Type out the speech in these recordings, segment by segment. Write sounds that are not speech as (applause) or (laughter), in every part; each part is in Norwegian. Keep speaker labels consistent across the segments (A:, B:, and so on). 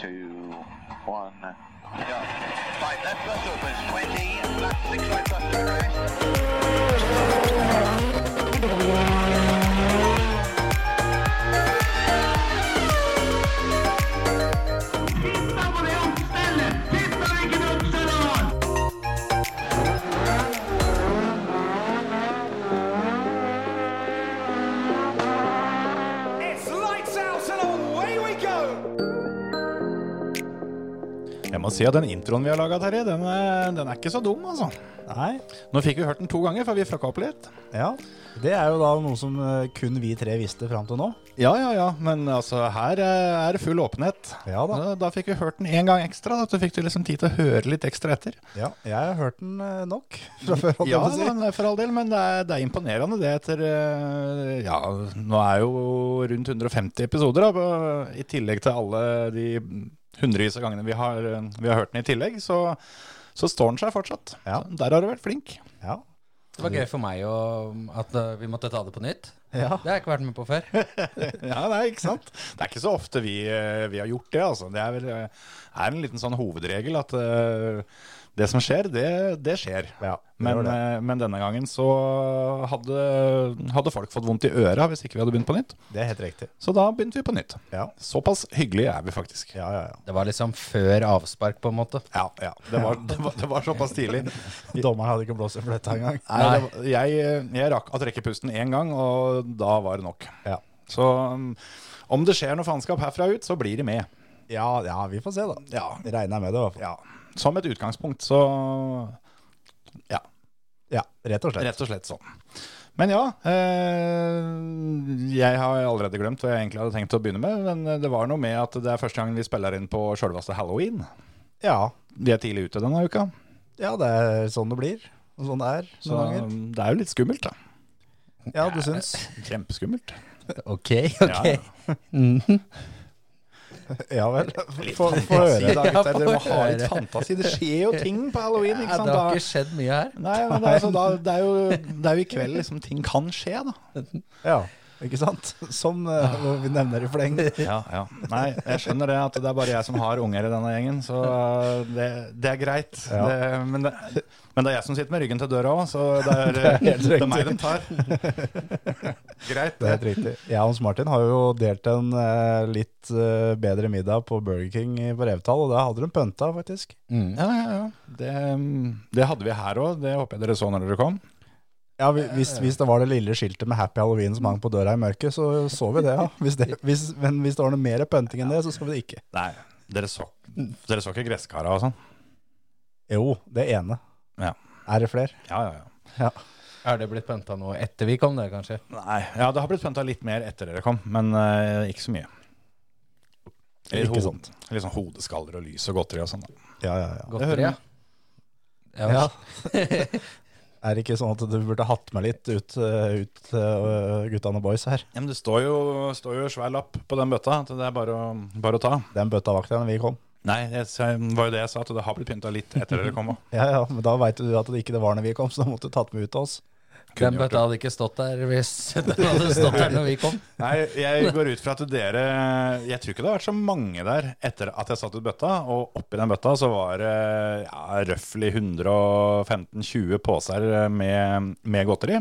A: two, one. Yeah. Right, left bus opens 20, left six right bus to rest.
B: Jeg må si at den introen vi har laga, Terje, den er, den er ikke så dum, altså.
C: Nei.
B: Nå fikk vi hørt den to ganger, for vi fucka opp litt.
C: Ja. Det er jo da noe som eh, kun vi tre visste fram til nå.
B: Ja, ja, ja, men altså, her eh, er det full åpenhet.
C: Ja da.
B: Da, da fikk vi hørt den én gang ekstra, da, så fikk du liksom tid til å høre litt ekstra etter.
C: Ja, jeg har hørt den eh, nok (laughs) fra før. holdt jeg
B: Ja,
C: på å si.
B: men, eh, for all del, men det er, det er imponerende det etter eh, Ja, nå er jo rundt 150 episoder, da, på- i tillegg til alle de hundrevis av gangene vi har, eh, vi har hørt den i tillegg, så, så står den seg fortsatt.
C: Ja.
B: Der har du vært flink.
C: Ja.
D: Det var gøy for meg å, at eh, vi måtte ta det på nytt.
C: (laughs) Ja.
D: Det har jeg ikke vært med på før.
B: Ja, det er ikke sant. Det er ikke så ofte vi, eh, vi har gjort det, altså. Det er vel eh, er en liten sånn hovedregel at eh, det som skjer, det, det skjer.
C: Ja, det
B: men,
C: gjør det.
B: eh, men denne gangen så hadde, hadde folk fått vondt i øra hvis ikke vi hadde begynt på nytt.
C: Det er helt riktig.
B: Så da begynte vi på nytt.
C: Ja.
B: Såpass hyggelige er vi faktisk.
C: Ja, ja, ja.
D: Det var liksom før avspark, på en måte.
B: Ja, ja. Det, var, det, var, det var såpass tidlig.
C: (laughs) Dommeren hadde ikke blåst i fløyta engang.
B: Nei, det var, jeg, eh, jeg rakk å trekke pusten én gang, og da var det nok.
C: Ja.
B: Så um, om det skjer noe faenskap herfra ut, så blir de med.
C: Ja, ja, vi får se, da.
B: Ja.
C: Regner jeg med det, i hvert fall.
B: ja. Som et utgangspunkt, så Ja.
C: Ja, rett og slett.
B: Rett og slett sånn. Men ja, eh, jeg har allerede glemt hva jeg egentlig hadde tenkt å begynne med. Men eh, det var noe med at det er første gangen vi spiller inn på sjølveste halloween.
C: Ja.
B: Vi er tidlig ute denne uka,
C: ja, det er sånn det blir. Og sånn det er noen
B: så eh,
C: ganger.
B: det er jo litt skummelt, da.
C: Ja, du syns?
B: (laughs) Kjempeskummelt.
D: Ok, ok.
C: (laughs) Ja vel. Få få
B: Få
C: høre.
B: høre, da,
D: Ja,
B: gutter. Dere må
D: få
B: ha litt
D: høre.
B: fantasi. Det skjer jo ting på halloween,
D: Ja,
B: ikke sant?
D: det har
B: Da.
D: ikke skjedd mye her.
B: Nei, men det, er altså, da, det, er jo, det er jo i kveld liksom, ting kan skje, da.
C: Ja, ikke sant? Som eh, vi nevner i fleng.
B: Ja, ja. Nei, jeg skjønner det at det er bare jeg som har unger i denne gjengen, så uh, det, det er greit.
C: Ja.
B: Det, men, det, men det er jeg som sitter med ryggen til døra òg, så det er, uh,
C: (laughs) Det er helt
B: det er
C: riktig.
B: meg de tar. greit.
C: Det er helt riktig. Jeg og Hans Martin har jo delt en eh, litt eh, bedre middag på Burger King i- på Revetal, og der hadde de pønta, faktisk.
B: Ja, ja, ja. Det, um, det hadde vi her òg, det håper jeg dere så når dere kom.
C: Ja, vi- hvis, hvis det var det lille skiltet med Happy Halloween som hang på døra i mørket, så så vi det, ja. Hvis det, hvis, men hvis det var noe mer pønting enn det, så så vi det ikke.
B: Nei, dere så, dere så ikke gresskara og sånn?
C: Jo, det ene.
B: Ja.
C: Er det flere?
B: Ja, ja, ja.
C: Ja.
D: Er det blitt pønta nå etter vi kom der, kanskje?
B: Nei, ja, det har blitt pønta litt mer etter dere kom, men eh, ikke så mye. Eller
C: Ikke
B: ho- Litt sånn hodeskaller og lys og godteri og sånn. da.
C: Ja, ja, ja.
D: Godteri, ja.
C: Ja. Er det ikke sånn at du burde hatt med litt ut, eh, ut eh, guttene og boys her?
B: Ja, men det står jo, står jo svær lapp på den bøtta, at det er bare å, bare å ta.
C: Den bøtta vakt igjen vi kom.
B: Nei, det var jo det jeg sa, at det har blitt pynta litt etter dere kom.
C: Ja, ja, men da veit du at det ikke det var når vi kom, så da måtte du tatt med ut til oss.
D: Den bøtta hadde ikke stått der hvis (laughs) den hadde stått der når vi kom.
B: Nei, jeg går ut fra at dere Jeg tror ikke det har vært så mange der etter at jeg satt ut bøtta, og oppi den bøtta så var det ja, røftlig 115-20 poser med, med godteri.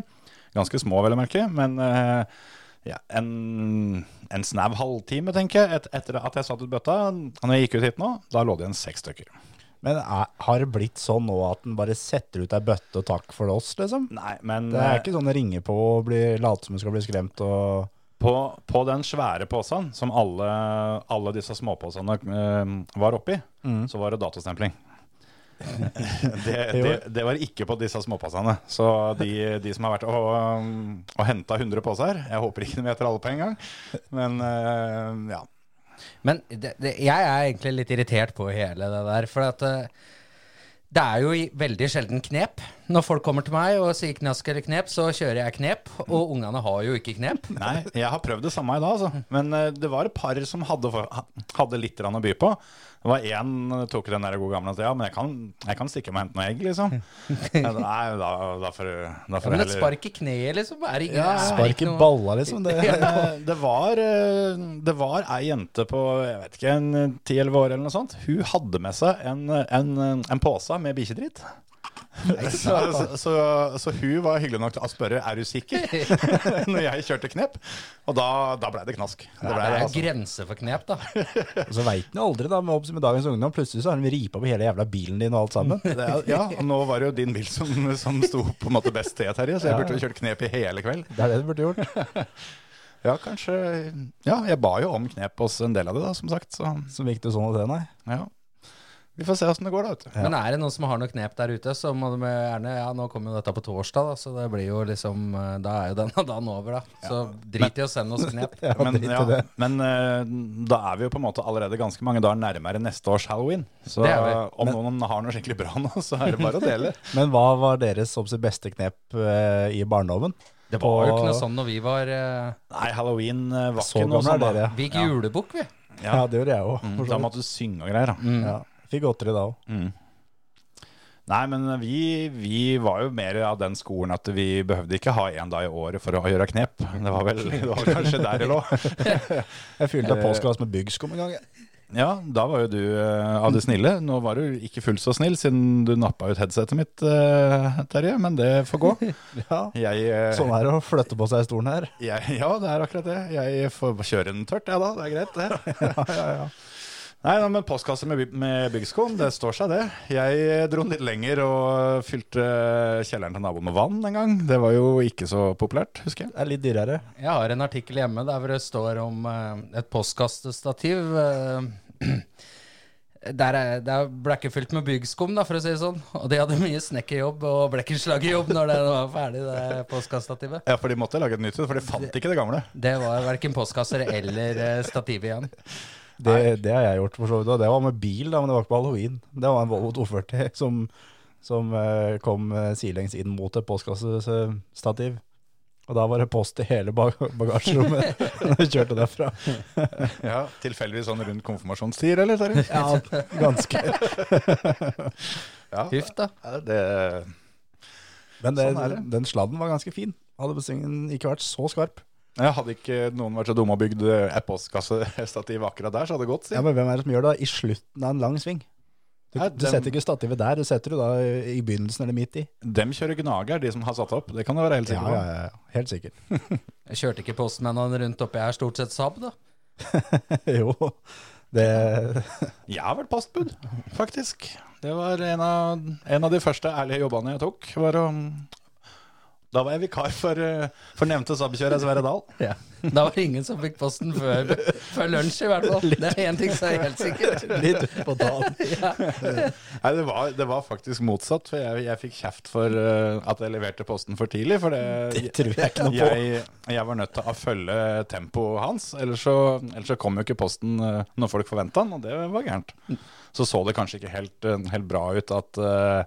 B: Ganske små, vel å merke, men eh, ja, en, en snau halvtime, tenker jeg, et, etter at jeg satt ut bøtta. Når jeg gikk ut hit nå, da lå det igjen seks stykker.
C: Men er, har det blitt sånn nå at den bare setter ut ei bøtte og takk for oss, liksom?
B: Nei, men eh,
C: Det er ikke sånn å ringe på og bli, late som du skal bli skremt og
B: på, på den svære posen som alle, alle disse småposene eh, var oppi, så var det datostempling. det, det, det var ikke på disse småposene. Så de, de som har vært og, um, og henta 100 poser Jeg håper ikke de heter alle på en gang, men eh, ja.
D: Men det, det, jeg er egentlig litt irritert på hele det der, for at eh, det er jo i- veldig sjelden knep. Når folk kommer til meg og sier knask eller knep, så kjører jeg knep. Og ungene har jo ikke knep.
C: Nei, jeg har prøvd det samme i dag, altså. Men eh, det var et par som hadde, for- ha- hadde litt grann å by på. Det var én eh, tok den der gode gamle at ja, men jeg kan, jeg kan stikke meg og hente noe egg,
D: (laughs)
C: liksom. Ja, Nei, da, da får du da får du
D: Men et
C: heller-
D: spark i kneet, liksom, er ikke
C: Ja,
D: er
B: Spark
D: ikke
B: i
D: noe- (laughs)
B: balla, liksom. Det,
C: Men, eh, det var, eh, det var ei jente på jeg vet ikke,
B: eh,
C: en 10-11 år eller noe sånt. Hun hadde med seg en, en, en pose med bikkjedritt.
B: (laughs)
C: Så, så, så hun var hyggelig nok til å spørre er du sikker (laughs) når jeg kjørte knep. Og da, da blei det knask. Det
D: Det
C: ble
D: er
C: det,
D: jo
C: altså.
D: grenser for knep, da.
B: Og så veit en jo aldri, da, med, obs- med dagens ungdom. Plutselig så har de ripa på hele jævla bilen din og alt sammen.
C: Det er, ja, og nå var det jo din bil som, som sto på en måte best til, Terje, så jeg burde jo kjørt knep i hele kveld.
B: Det er det du burde gjort.
C: Ja, kanskje Ja, jeg ba jo om knep hos en del av det, da, som sagt. Så
B: Som gikk det sånn og det, nei.
C: ja. Vi får se åssen det går, da. vet du.
D: Men er det noen som har noe knep der ute, så må de gjerne Ja, nå kommer jo dette på torsdag, da, så det blir jo liksom eh, Da er jo denne dagen over, da. Så drit i å sende oss knep.
B: Ja,
C: Men,
B: drit i
C: ja,
B: det.
C: men eh, da er vi jo på en måte allerede ganske mange dager nærmere neste års halloween. Så
D: Det er vi.
C: eh, om noen har noe skikkelig bra nå, så er det bare å
B: (laughs)
C: dele.
B: Men hva var deres obs- beste knep eh, i barndommen?
D: Det var jo ikke noe sånn når vi var eh,
C: Nei, halloween eh, var
B: Så
C: ikke noe
B: gamle er
C: sånn.
B: dere,
C: Da.
B: ja.
D: Vi gikk julebukk, vi.
C: Ja.
B: Ja, det gjorde jeg òg.
C: Mm, Da måtte Mm. du synge og greier. Da.
B: ja. Fikk godteri da òg.
C: Mm. Nei, men vi, vi var jo mer av den skolen at vi behøvde ikke ha én dag i året for å gjøre knep. Det var vel det var kanskje der det lå.
B: Jeg fylte påskeass med byggskum en gang. jeg.
C: Ja, da var jo du eh, av de snille. Nå var du ikke fullt så snill siden du nappa ut headsetet mitt, eh, Terje, men det får gå.
B: (laughs) Ja.
C: Jeg, eh,
B: Sånn er det å flytte på seg i stolen her.
C: Jeg, ja, det er akkurat det. Jeg får kjøre den tørt, jeg ja, da. Det er greit,
B: (laughs)
C: det. Nei, da, men postkasse med, by- med byggskoen, det står seg, det. Jeg eh, dro den litt lenger og fylte eh, kjelleren til naboen med vann en gang. Det var jo ikke så populært, husker jeg.
B: Det er litt dyrere.
D: Jeg har en artikkel hjemme der hvor det står om eh, et postkastestativ. eh, (clears throat) der er, det er blekkefylt med byggskum, da, for å si det sånn. Og de hadde mye snekkerjobb og blekkenslagerjobb når det var ferdig, det postkaststativet.
C: Ja, for de måtte lage et nytt, for de fant ikke det gamle.
D: Det var verken postkasser eller eh, stativ igjen.
B: Det, det har jeg gjort, for så vidt. Og det var med bil, da, men det var ikke på halloween. Det var en Volvo 240 som, som eh, kom eh, sidelengs inn mot et postkassestativ. Og da var det post i hele bag bagasjerommet (laughs) når jeg kjørte derfra.
C: (laughs) Ja, Tilfeldigvis sånn rundt konfirmasjonstider, eller, Terje?
B: Ja, (laughs) ganske.
C: Ja.
D: Huff, da.
C: Ja, Det,
B: Men det,
C: Sånn er det.
B: den sladden var ganske fin. Hadde bestillingen ikke vært så skarp.
C: jeg hadde ikke noen vært så dumme og bygd et postkassestativ akkurat der, så hadde det gått.
B: Ja,
C: Si.
B: Men hvem er det som gjør det da? i slutten av en lang sving? Du,
C: Ja,
B: du
C: den-
B: setter ikke stativet der, du setter det da i- i begynnelsen eller midt i.
C: Dem kjører gnager, de som har satt opp. Det kan du være helt
B: Ja,
C: sikker på.
B: ja, ja, ja. Helt sikkert.
D: Jeg kjørte ikke postmennene rundt oppi her, stort sett Saab, da.
B: (laughs) jo, det,
C: Jeg har vært postbud, faktisk. Det var en av, en av de første ærlige jobbene jeg tok. Var å, da var jeg vikar for, eh, for nevnte sabbkjører Sverre Dahl.
D: Da var det ingen som fikk posten før, før lunsj, i hvert fall. Det er én ting som er helt sikkert.
B: Litt utpå dagen.
C: Nei, det var, det var faktisk motsatt, for jeg, jeg fikk kjeft for eh, at jeg leverte posten for tidlig. For det,
B: Tror jeg ikke noe på.
C: jeg, jeg var nødt til å følge tempoet hans, ellers så, ellers så kom jo ikke posten eh, når folk forventa den, og det var gærent. Så så det kanskje ikke helt, eh, helt bra ut at eh,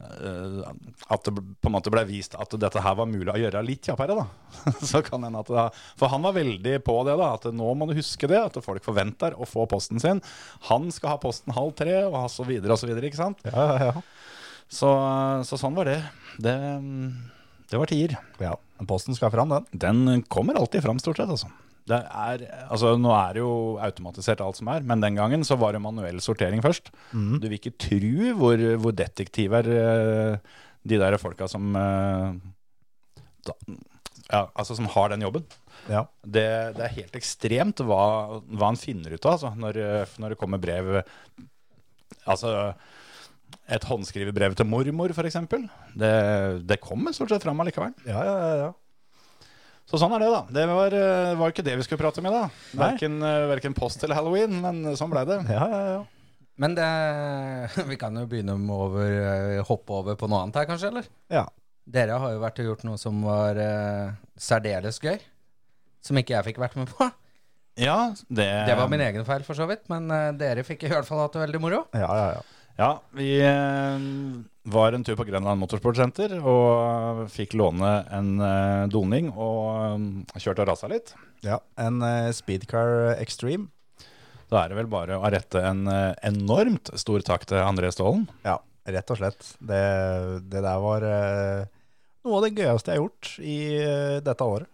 C: eh, at det ble- på en måte ble vist at dette her var mulig å gjøre litt kjappere, da. (laughs) Så kan hende at det, For han var veldig på det, da. At nå må du huske det, at folk forventer å få posten sin. Han skal ha posten halv tre, og så videre og så videre, ikke sant.
B: Ja, ja, ja.
C: Så, så sånn var det. Det, mm, det var tier.
B: (laughs) ja. men Posten skal fram, den.
C: Den kommer alltid fram, stort sett. altså. Det er, altså Nå er det jo automatisert alt som er, men den gangen så var det manuell sortering først.
B: Mm.
C: Du vil ikke tru hvor, hvor detektiver eh, de der folka som eh, da, ja, Altså som har den jobben.
B: Ja.
C: Det, det er helt ekstremt hva, hva en finner ut av altså, når, eh, når det kommer brev Altså et håndskrevet brev til mormor, f.eks. Det, det kommer stort sett fram allikevel.
B: Ja, ja, ja, ja.
C: Så sånn er det, da. Det var, eh, var ikke det vi skulle prate om i dag. Verken, eh, verken post eller halloween, men sånn blei det.
B: ja, ja, ja.
D: Men det, (laughs) vi kan jo begynne med over, eh, hoppe over på noe annet her, kanskje? eller?
B: ja.
D: Dere har jo vært og gjort noe som var eh, særdeles gøy. Som ikke jeg fikk vært med på.
C: Ja, det,
D: Det var min egen feil, for så vidt. Men eh, dere fikk i hvert fall hatt det veldig moro.
B: ja, ja, ja.
C: Ja, vi eh, var en tur på Grenland Motorsportsenter og fikk låne en eh, doning og eh, kjørte og rasa litt.
B: Ja, En eh, Speedcar Extreme.
C: Da er det vel bare å rette en eh, enormt stor takk til André Stålen.
B: Ja, rett og slett. Det, det der var eh, noe av det gøyeste jeg har gjort i eh, dette året.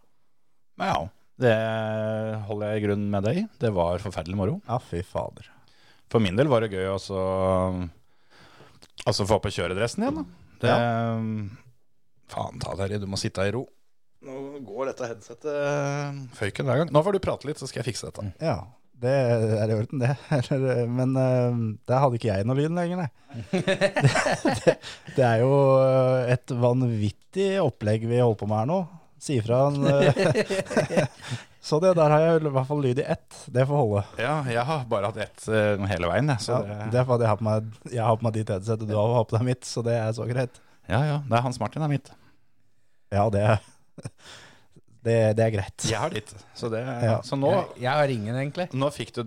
C: Ja, det holder jeg i grunnen med deg. i. Det var forferdelig moro.
B: Ja, fy fader.
C: For min del var det gøy å så- altså få på kjøredressen igjen. Da. Det, Faen ta deg i, du må sitte her i ro. Nå går dette headsetet eh, føyken hver gang. Nå får du prate litt, så skal jeg fikse dette.
B: Ja, det er i orden, det. (laughs) Eller, Men eh, der hadde ikke jeg noe lyn lenger, nei. Det, det, det er jo eh, et vanvittig opplegg vi holder på med her nå. Si ifra en eh, (laughs) Så det der har jeg i hvert fall lyd i ett. Det får holde.
C: Ja, jeg har bare hatt ett eh, hele veien, jeg. Så
B: Ja,
C: det,
B: det er fordi jeg har på meg, jeg har på meg ditt headset, og du har på deg mitt, så det er så greit.
C: ja, ja. Det er Hans Martin er mitt.
B: Ja, det, er- (laughs) det, det er greit.
C: Jeg har ditt. Så, det,
B: Ja.
C: så nå,
D: Jeg, jeg har ingen, egentlig.
C: nå, fikk du,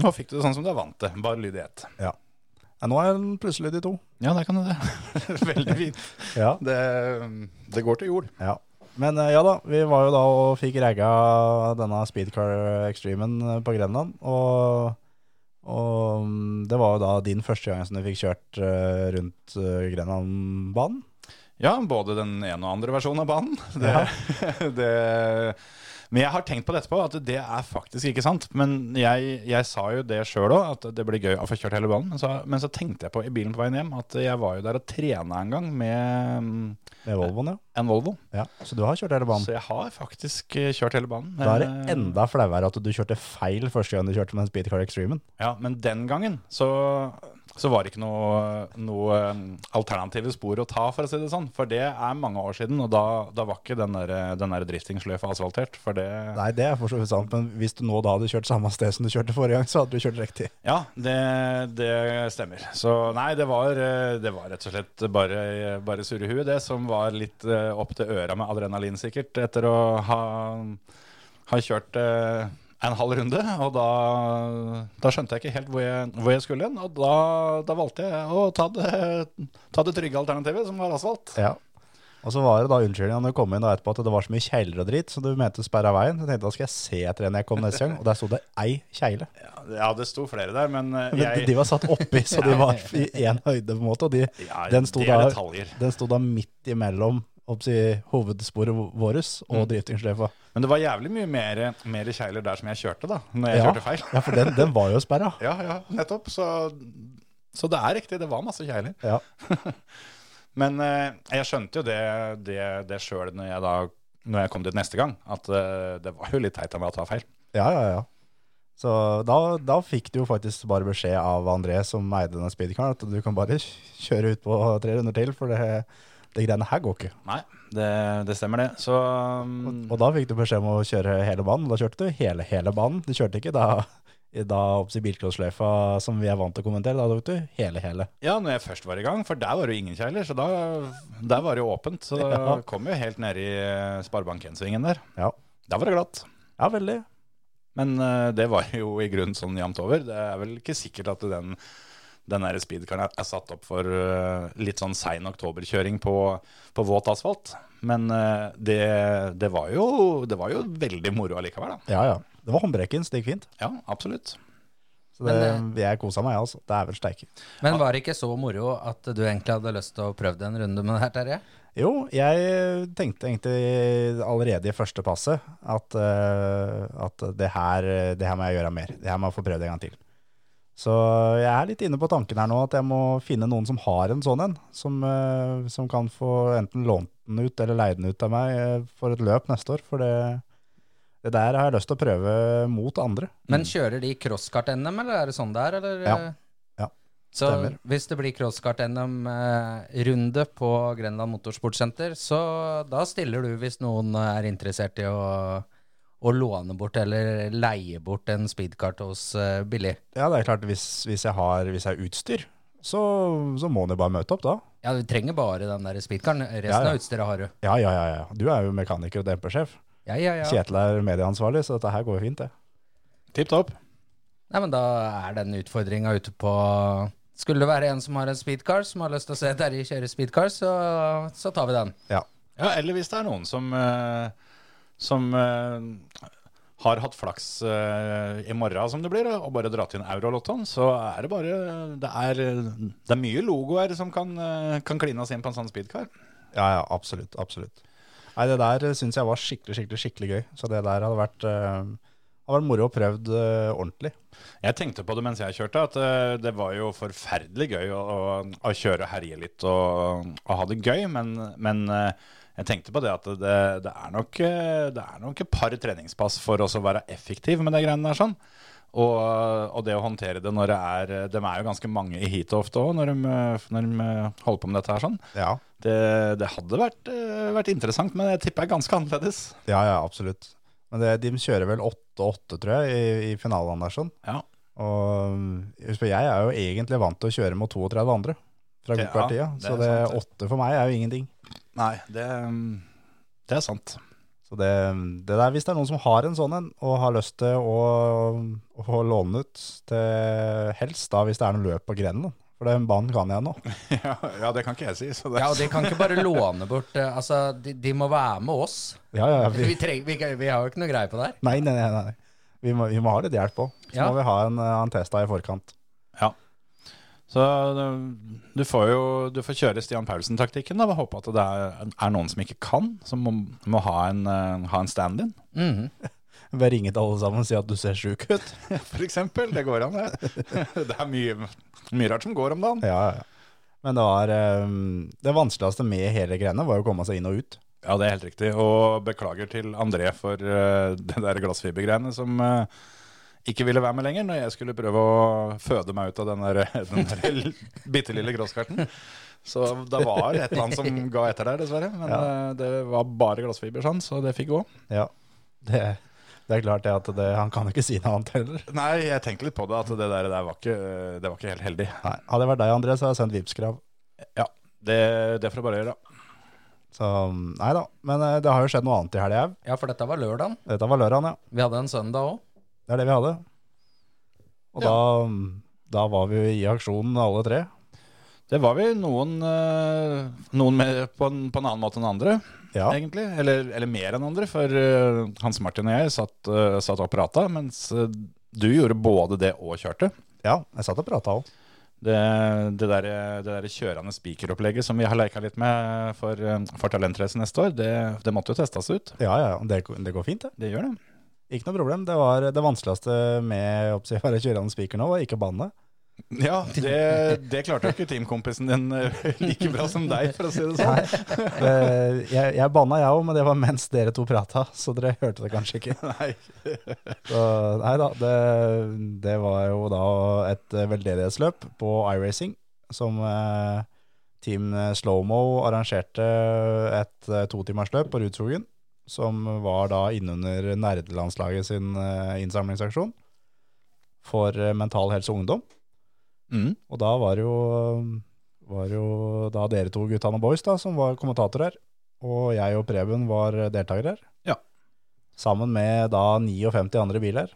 C: nå fikk du det sånn som du er vant til. Bare lyd i ett.
B: Ja, nå er den plutselig de to.
C: Ja, der kan du det. (laughs) Veldig fint.
B: Ja.
C: Det, det går til jord.
B: Ja. Men eh, ja da, vi var jo da og fikk regga denne Speedcar Extremen eh, på Grenland. Og, og mm, det var jo da din første gang som du fikk kjørt eh, rundt eh, Grenlandbanen.
C: Ja, både den ene og andre versjonen av banen. (laughs) Det, det, men jeg har tenkt på det etterpå, at det er faktisk ikke sant. Men jeg, jeg sa jo det sjøl òg, at det blir gøy å få kjørt hele banen. Men så, men så tenkte jeg på i bilen på veien hjem at jeg var jo der og trena en gang med mm,
B: Med Volvoen, ja.
C: en Volvo.
B: ja. Så du har kjørt hele banen.
C: Så jeg har faktisk eh, kjørt hele banen.
B: Da er
C: Eh,
B: det enda flauere at du kjørte feil første gang du kjørte med den Speedcar Extremen.
C: Ja, men den gangen så, så var det ikke noe, noe um, alternative spor å ta, for å si det sånn. For det er mange år siden, og da, da var ikke den der, den der driftingsløyfa asfaltert. For det
B: Nei, det er for så vidt sant, men hvis du nå da hadde kjørt samme sted som du kjørte forrige gang, så hadde du kjørt riktig.
C: Ja, det, det stemmer. Så nei, det var, eh, det var rett og slett bare, bare surre huet, det, som var litt eh, opp til øra med adrenalin, sikkert, etter å ha, ha kjørt eh, en halv runde. Og da, da skjønte jeg ikke helt hvor jeg, hvor jeg skulle hen, og da, da valgte jeg å ta det, ta det trygge alternativet, som var asfalt.
B: Ja. Og så var det da unnskyldninga når du kom inn da etterpå at det var så mye kjegler og dritt, så du mente å sperre av veien. Så tenkte jeg da skal jeg se etter en jeg kom neste gang, og der sto det ei kjegle.
C: Ja, det sto flere der, men eh,
B: Men
C: jeg
B: de var satt oppi, så de var i én høyde på en måte, og de,
C: ja,
B: den sto
C: det er
B: da-
C: detaljer.
B: den sto da midt imellom oppsi, hovedsporet vårt og
C: Mm.
B: driftingsløyfa.
C: Men det var jævlig mye mer, mer kjegler der som jeg kjørte, da. Når jeg
B: Ja.
C: kjørte feil.
B: Ja, for den, den var jo sperra.
C: Ja, ja, nettopp. Så, så det er riktig, det var masse kjegler.
B: Ja.
C: Men eh, jeg skjønte jo det, det, det sjøl når, jeg da- når jeg kom dit neste gang, at eh, det var jo litt teit av meg å ta feil.
B: Ja, ja, ja. Så da, da fikk du jo faktisk bare beskjed av André som eide denne speedcaren, at du kan bare (laughs) kjøre ut på tre runder til, for det, det greiene her går ikke.
C: Nei, det, det stemmer det. Så um,
B: Og da fikk du beskjed om å kjøre hele banen. Da kjørte du hele, hele banen. Du kjørte ikke da, da opp til bilcrossløyfa som vi er vant til å kommentere. Da tok du hele, hele.
C: ja, når jeg først var i gang, for der var det jo ingen kjegler, så da, der var det jo åpent. Så da
B: (laughs) Ja.
C: kom jeg jo helt nede i eh, Sparebank 1-svingen der.
B: Ja.
C: Der var det glatt.
B: Ja, veldig.
C: Men eh, det var jo i grunnen sånn jevnt over. Det er vel ikke sikkert at den, den der speedcaren er- er satt opp for eh, litt sånn sein oktoberkjøring på, på våt asfalt. Men eh, det, det, var jo, det var jo veldig moro allikevel, da.
B: Ja, ja. Det var håndbrekkens, det gikk fint.
C: Ja, absolutt.
B: Så det,
D: Men
B: jeg kosa meg, jeg, altså. Det er vel steike.
D: Men var det ikke så moro at du egentlig hadde lyst til å prøve en runde med det her, Terje?
B: Jo, jeg eh, tenkte egentlig allerede i første passet at, eh, at det, her, det her må jeg gjøre mer. Det her må jeg få prøvd en gang til. Så jeg er litt inne på tanken her nå at jeg må finne noen som har en sånn en, som, eh, som kan få enten lånt den ut eller leid den ut av meg eh, for et løp neste år. For det, det der har jeg lyst til å prøve mot andre.
D: Men kjører de crosskart-NM, eller er det sånn det er? Eller?
B: Mm. Ja. Ja,
D: Så
B: stemmer.
D: hvis det blir crosskart-NM-runde eh, på Grenland Motorsportsenter, så da stiller du hvis noen eh, er interessert i å, å låne bort eller leie bort en speedkart hos eh, Billy.
B: Ja, det er klart hvis, hvis, jeg, har, hvis jeg har utstyr, så, så må han jo bare møte opp da.
D: Ja, du trenger bare den der speedkaren. Resten
B: Ja, ja.
D: av utstyret har du.
B: Ja, ja, ja. ja. Du er jo mekaniker og dempersjef.
D: Ja, ja, ja.
B: Kjetil er medieansvarlig, så dette her går jo fint, det.
C: Tipp topp.
D: Nei, men da er den utfordringa ute på Skulle det være en som har en speedcar, som har lyst til å se Terje kjøre speedcar, så, så tar vi den.
B: Ja.
C: Ja, eller hvis det er noen som, eh, som eh, har hatt flaks eh, i morgen, som det blir, og bare dratt inn Eurolottoen, så er det bare Det er, det er mye logoer som kan, eh, kan klines inn på en sånn speedcar.
B: Ja, ja, absolutt. Absolutt. Nei, det der syns jeg var skikkelig, skikkelig skikkelig gøy. Så det der hadde vært, eh, hadde vært moro å prøvd eh, ordentlig.
C: Jeg tenkte på det mens jeg kjørte, at eh, det var jo forferdelig gøy å, å, å kjøre og herje litt og, og ha det gøy, men, men eh, jeg tenkte på det at det, det, er nok, eh, det er nok et par treningspass for oss å være effektiv med de greiene der. sånn. Og, og det å håndtere det når det er De er jo ganske mange i heatet ofte òg, når, de, eh, når de eh, holder på med dette her sånn.
B: Ja,
C: Det, det hadde vært, eh, vært interessant, men jeg tipper det er ganske annerledes.
B: ja, ja absolutt. Men det, de kjører vel 8-8, tror jeg, i, i finalen der sånn.
C: Ja.
B: Og um, husk på, jeg er jo egentlig vant til å kjøre mot 32 andre fra
C: Ja,
B: gokart-tida,
C: det er
B: så det
C: sant, det.
B: åtte for meg er jo ingenting.
C: Nei, det, mm, det er sant. (laughs)
B: Så det, det der, hvis det er noen som har en sånn en, og har lyst til å, å låne ut til helst, da hvis det er noen løp på grenen, da. for den banen kan jeg nå.
C: Ja, ja, det kan ikke jeg si. Så det,
D: Ja, og de kan ikke bare låne bort eh, Altså, de, de må være med oss.
B: Ja, ja, ja, vi,
D: Vi, treng, vi, kan- vi har jo ikke noe greie på det her.
B: nei, nei, nei, nei. Vi må, vi må ha litt hjelp òg. Så
D: Ja.
B: må vi ha en, eh, en test da i forkant.
C: Så det- du får jo du får kjøre Stian Paulsen-taktikken. da, og Håpe at det er, er noen som ikke kan, som må, må ha en, eh, ha en stand-in.
D: Mhm.
B: Vi ringer til alle sammen og sier at du ser sjuk
C: (laughs)
B: ut.
C: For eksempel, det går an, det. (laughs) Det er mye, mye rart som går om dagen.
B: Ja, ja, ja. Men det var eh, Det vanskeligste med hele greiene var jo å komme seg inn og ut.
C: Ja, det er helt riktig. Og beklager til André for eh, det der glassfibergreiene som eh, ikke ville være med lenger når jeg skulle prøve å føde meg ut av den der, (laughs) den der l- bitte lille grasskverten. Så det var et eller annet som ga etter der, dessverre. Men eh, det var bare glassfiber, sånn, så det fikk gå.
B: Ja, det, det er klart det at det, han kan jo ikke si noe annet heller.
C: Nei, jeg tenkte litt på det, at det der, der var, ikke, det var ikke helt heldig.
B: Nei, hadde det vært deg, André, så hadde jeg sendt Vipps-krav.
C: Ja, det, det får jeg bare gjøre.
B: Så nei da. Men eh, det har jo skjedd noe annet i helga òg.
D: Ja, for dette var lørdagen.
B: Dette var lørdagen, ja.
D: Vi hadde en søndag òg.
B: Det er det vi hadde. Og da, mm, da var vi jo i aksjonen alle tre.
C: Det var vi noen, eh, noen med, på, en, på en annen måte enn andre,
B: Ja,
C: egentlig. Eller, eller mer enn andre, for eh, Hans Martin og jeg satt, eh, satt og prata, mens eh, du gjorde både det og kjørte.
B: ja jeg satt og prata òg.
C: Det, det, der, det der kjørende spikeropplegget som vi har leika litt med for, eh, for Talentrace neste år, det, det måtte jo testes ut.
B: Ja, ja, ja, det, det går fint, det.
C: Det gjør det.
B: Ikke noe problem. Det var det vanskeligste med å si, være kjørende spiker nå, var ikke å banne.
C: Ja, det, det klarte jo ikke teamkompisen din eh, like bra som deg, for å si det sånn.
B: Eh, Jeg, jeg banna, jeg òg, men det var mens dere to prata, så dere hørte det kanskje ikke.
C: Nei.
B: Så, nei da, det, det var jo da et veldedighetsløp på iRacing, som eh, Team Slowmo arrangerte et eh, totimersløp på Rudskogen, som var da innunder nerdelandslaget sin eh, innsamlingsaksjon for eh, Mental Helse Ungdom.
C: Mm.
B: Og da var det jo, var det jo da dere to guttene og boys da, som var kommentatorer her. Og jeg og Preben var deltakere her.
C: Ja.
B: Sammen med da 59 andre biler.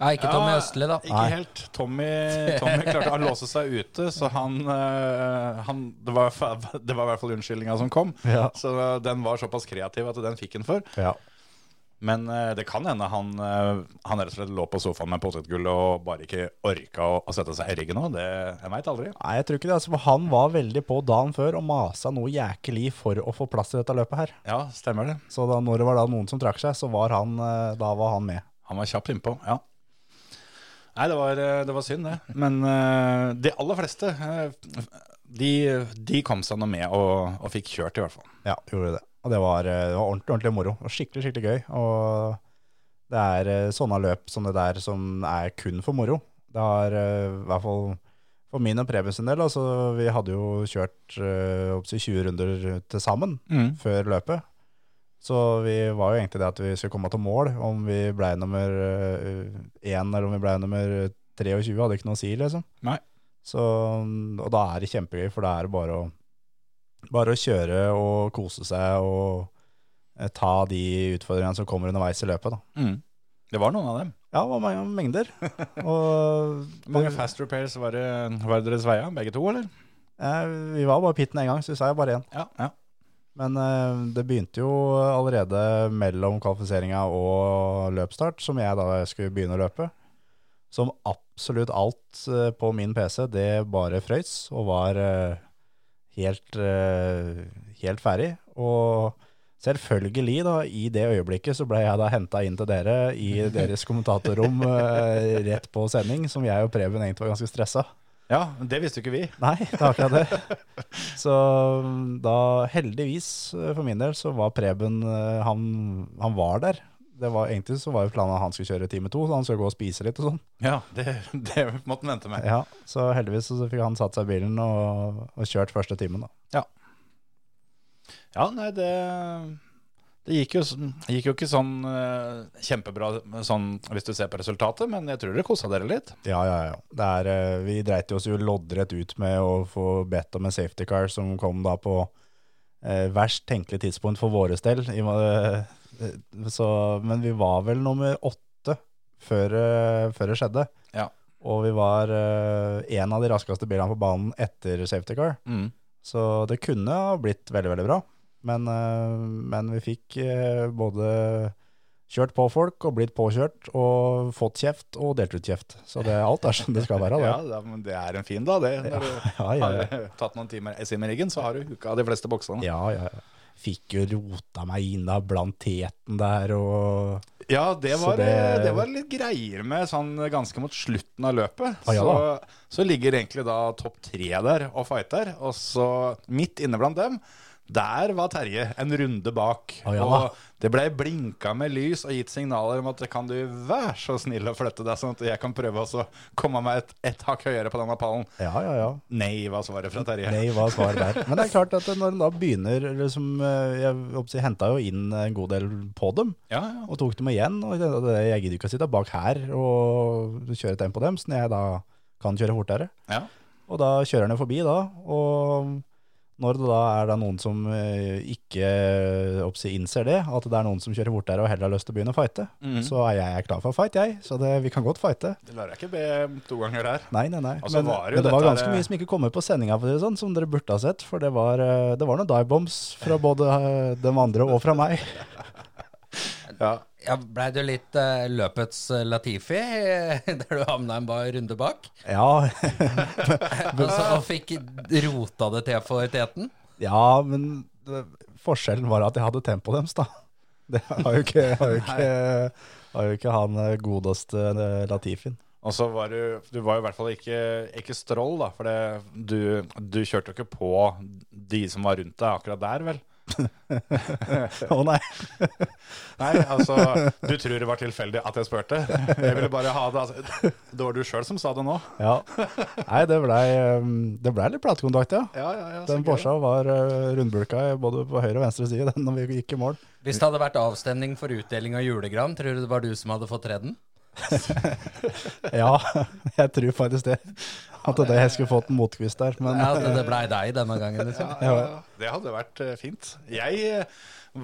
D: Nei, ikke Tommy Østli, da.
C: Ikke
B: Nei.
C: helt. Tommy, Tommy klarte å låse seg ute, så han, eh, han det, var, fa- det var i hvert fall unnskyldninga som kom.
B: Ja.
C: Så den var såpass kreativ at den fikk han for.
B: Ja,
C: Men eh, det kan hende han, eh, han rett og slett lå på sofaen med potetgull og bare ikke orka å, å sette seg i ryggen nå. Det, jeg veit aldri.
B: Nei, jeg tror ikke det. Altså, for han var veldig på dagen før og masa noe jækelig for å få plass til dette løpet her.
C: Ja, stemmer det.
B: Så da, når det var da noen som trakk seg, så var han, eh, da var han med.
C: Han var kjapt innpå, ja. Nei, det var, eh, det var synd, det. Men eh, de aller fleste, eh, de, de kom seg nå med og, og fikk kjørt, i hvert fall.
B: Ja, gjorde det. Og det var, eh, det var ordentlig, ordentlig moro. Og skikkelig, skikkelig gøy. Og det er eh, sånne løp som det der som er kun for moro. Det har eh, i hvert fall for min og Preben sin del, altså vi hadde jo kjørt eh, opp til 20 runder til sammen
C: Mm,
B: før løpet. Så vi var jo egentlig det at vi skulle komme til mål. Om vi ble nummer eh, én eller om vi ble nummer 23, hadde ikke noe å si, liksom.
C: Nei.
B: Så, og da er det kjempegøy, for da er det bare å, bare å kjøre og kose seg
C: mm.
B: og eh, ta de utfordringene som kommer underveis i løpet. Da.
C: Det var noen av dem.
B: Ja, det var mange mengder. Og
C: mange fast repairs var det, var det deres veia, begge to, eller?
B: eh, vi var bare pitten én gang, så vi sa jo bare én.
C: Ja. ja.
B: Men eh, det begynte jo allerede mellom kvalifiseringa og løpsstart, som jeg da skulle begynne å løpe. Som absolutt alt eh, på min PC, det bare frøys og var eh, helt, eh, helt ferdig. Og selvfølgelig, da, i det øyeblikket så ble jeg da henta inn til dere i deres kommentatorrom eh, rett på sending, som jeg og Preben egentlig var ganske stressa.
C: ja, det visste jo ikke vi.
B: Nei, det er akkurat det. Så mm, da, heldigvis eh, for min del, så var Preben eh, Han, han var der. Det var, egentlig så var jo planen at han skulle kjøre time to, så han skulle gå og spise litt og sånn.
C: Ja, det, det måtte han vente med.
B: Ja, så heldigvis så fikk han satt seg i bilen og, og kjørt første timen, da.
C: Ja, nei, det det gikk jo, det gikk jo ikke sånn eh, kjempebra sånn, hvis du ser på resultatet, men jeg tror dere kosa dere litt.
B: Ja, ja, ja. Det er, eh, vi dreit oss jo loddrett ut med å få bedt om en safety car som kom da på eh, verst tenkelig tidspunkt for våre del. I, og med- eh, så, men vi var vel nummer åtte før, eh, før det skjedde.
C: Ja.
B: Og vi var eh, en av de raskeste bilene på banen etter safety car.
C: Mm.
B: Så det kunne ha blitt veldig, veldig bra. Men, eh, men vi fikk eh, både kjørt på folk og blitt påkjørt, og fått kjeft og delt ut kjeft. Så det, alt er som det skal være.
C: Ja,
B: Det.
C: det, er- men det er en fin da, det. Når
B: Ja,
C: du
B: ja, ja.
C: har tatt noen timer SM i ryggen, så har du huka de fleste boksene.
B: ja, ja, ja. Fikk jo rota meg inn da blant teten der, og
C: Ja, det
B: Så
C: var, eh, det...
B: det-
C: var litt greier med sånn ganske mot slutten av løpet.
B: Ah, ja
C: så,
B: da.
C: så ligger egentlig da topp tre der og fighter, og så midt inne blant dem, der var Terje en runde bak.
B: Ah, ja da.
C: og det blei blinka med lys og gitt signaler om at kan du være så snill å flytte deg, sånn at jeg kan prøve også å komme meg et, et hakk høyere på denne pallen.
B: ja, ja, ja.
C: Nei, var svaret fra Terje.
B: Nei, var svaret der. Men det er klart at når en da begynner, liksom, eh, jeg håper å si, henta jo inn en god del på dem,
C: Ja, ja.
B: og tok dem igjen. Og jeg tenkte at jeg gidder ikke å sitte bak her og kjøre tempo dem, så jeg da kan kjøre fortere.
C: ja.
B: Og da kjører han jo forbi da, og når det da er da noen som eh, ikke eh, oppsi innser det, at det er noen som kjører fortere og heller har lyst til å begynne å fighte,
C: Mhm.
B: så er jeg klar for fight, jeg. Så det, vi kan godt fighte.
C: Det lar jeg ikke be om to ganger der.
B: Nei, nei, nei.
C: Altså,
B: men,
C: var jo
B: men det var
C: dette
B: ganske
C: her-
B: mye som ikke kom med på sendinga, for å si det sånn, som dere burde ha sett. For det var, eh, det var noen divebombs fra både eh, dem andre og fra
C: (laughs)
B: meg.
C: Ja.
D: Ja, Blei du litt eh, løpets eh, Latifi, (laughs) eh, der du havna en bar runde bak?
B: Ja,
D: Altså, og fikk rota det til for teten?
B: ja men det, forskjellen var at jeg hadde tempo deres, da. (laughs) Det har jo ikke, har jo ikke, har jo ikke han eh, godeste eh, Latifin. (laughs)
C: Og så var du Du var jo i hvert fall ikke, ikke strål, da. For det, du, du kjørte jo ikke på de som var rundt deg akkurat der, vel?
B: Å nei.
C: Nei, altså (laughs) Du tror det var tilfeldig at jeg spurte? Jeg ville bare ha det altså, Det var du sjøl som sa det nå?
B: Ja. Nei, det blei det ble litt platekontakt, ja.
C: Ja, ja, ja. så
B: Den
C: gøy.
B: Porscha var eh, rundbulka i både på høyre og venstre side (laughs) den når vi gikk i mål.
D: Hvis det hadde vært avstemning for utdeling av julegran, tror du det var du som hadde fått tredd den?
B: Ja, (laughs) jeg tror faktisk det. (laughs) At det jeg skulle fått en motkvist der. Men
D: Ja,
B: (laughs)
D: det, det blei deg denne gangen, liksom.
C: Ja, ja, ja. Det hadde vært eh, fint. Jeg eh,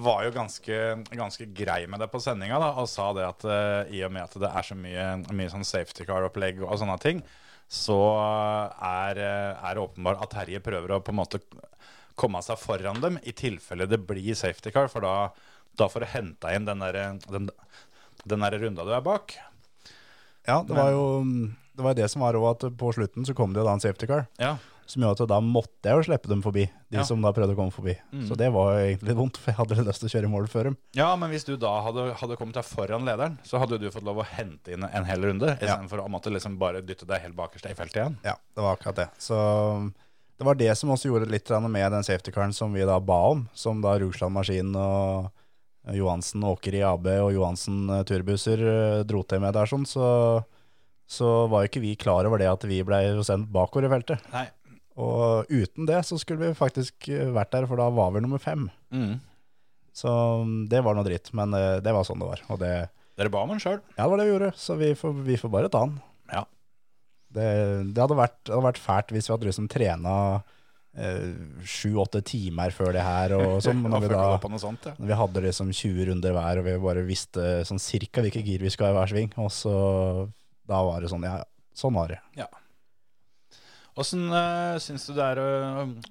C: var jo ganske, ganske grei med det på sendinga da, og sa det at eh, i og med at det er så mye, mye sånn safety car-opplegg og sånne ting, så er, eh, er det åpenbart at Terje prøver å på en måte komme seg foran dem i tilfelle det blir safety car, for da, da får du henta inn den der, den, den der runda du er bak.
B: ja, det var jo um, det, var det som var òg, at på slutten så kom det jo da en safety car.
C: Ja,
B: Som gjorde at da måtte jeg jo slippe dem forbi, de
C: Ja.
B: som da prøvde å komme forbi. Så det var jo egentlig litt vondt, for jeg hadde litt lyst til å kjøre i mål før dem.
C: Ja, men hvis du da hadde, hadde kommet deg foran lederen, så hadde jo du fått lov å hente inn en hel runde, istedenfor å måtte liksom bare dytte deg helt bakerst i feltet igjen.
B: Ja, det var akkurat det. Så um, det var det som også gjorde litt grann med den safety-caren som vi da ba om, som da Rugsland Maskin og Johansen Åker i AB og Johansen eh, Turbusser eh, dro til med der sånn, så, så var jo ikke vi klar over det at vi ble jo sendt bakover i feltet.
C: Nei.
B: Og uten det så skulle vi faktisk eh, vært der, for da var vi nummer fem. Så mm, det var noe dritt, men eh, det var sånn det var. Og det,
C: Dere ba om den sjøl.
B: ja, det var det vi gjorde, så vi får, vi får bare ta den.
C: Ja.
B: Det, det, hadde vært, det hadde vært fælt hvis vi hadde liksom trena sju-åtte timer før det her.
C: (laughs)
B: Og sånn,
C: Da
B: når, vi
C: følte jeg
B: da,
C: på noe sånt, ja.
B: når vi hadde liksom 20 runder hver, og vi bare visste sånn cirka hvilke gir vi skulle ha i hver sving. Og så da var det sånn, ja, sånn var det.
C: Åssen uh, syns du det er å,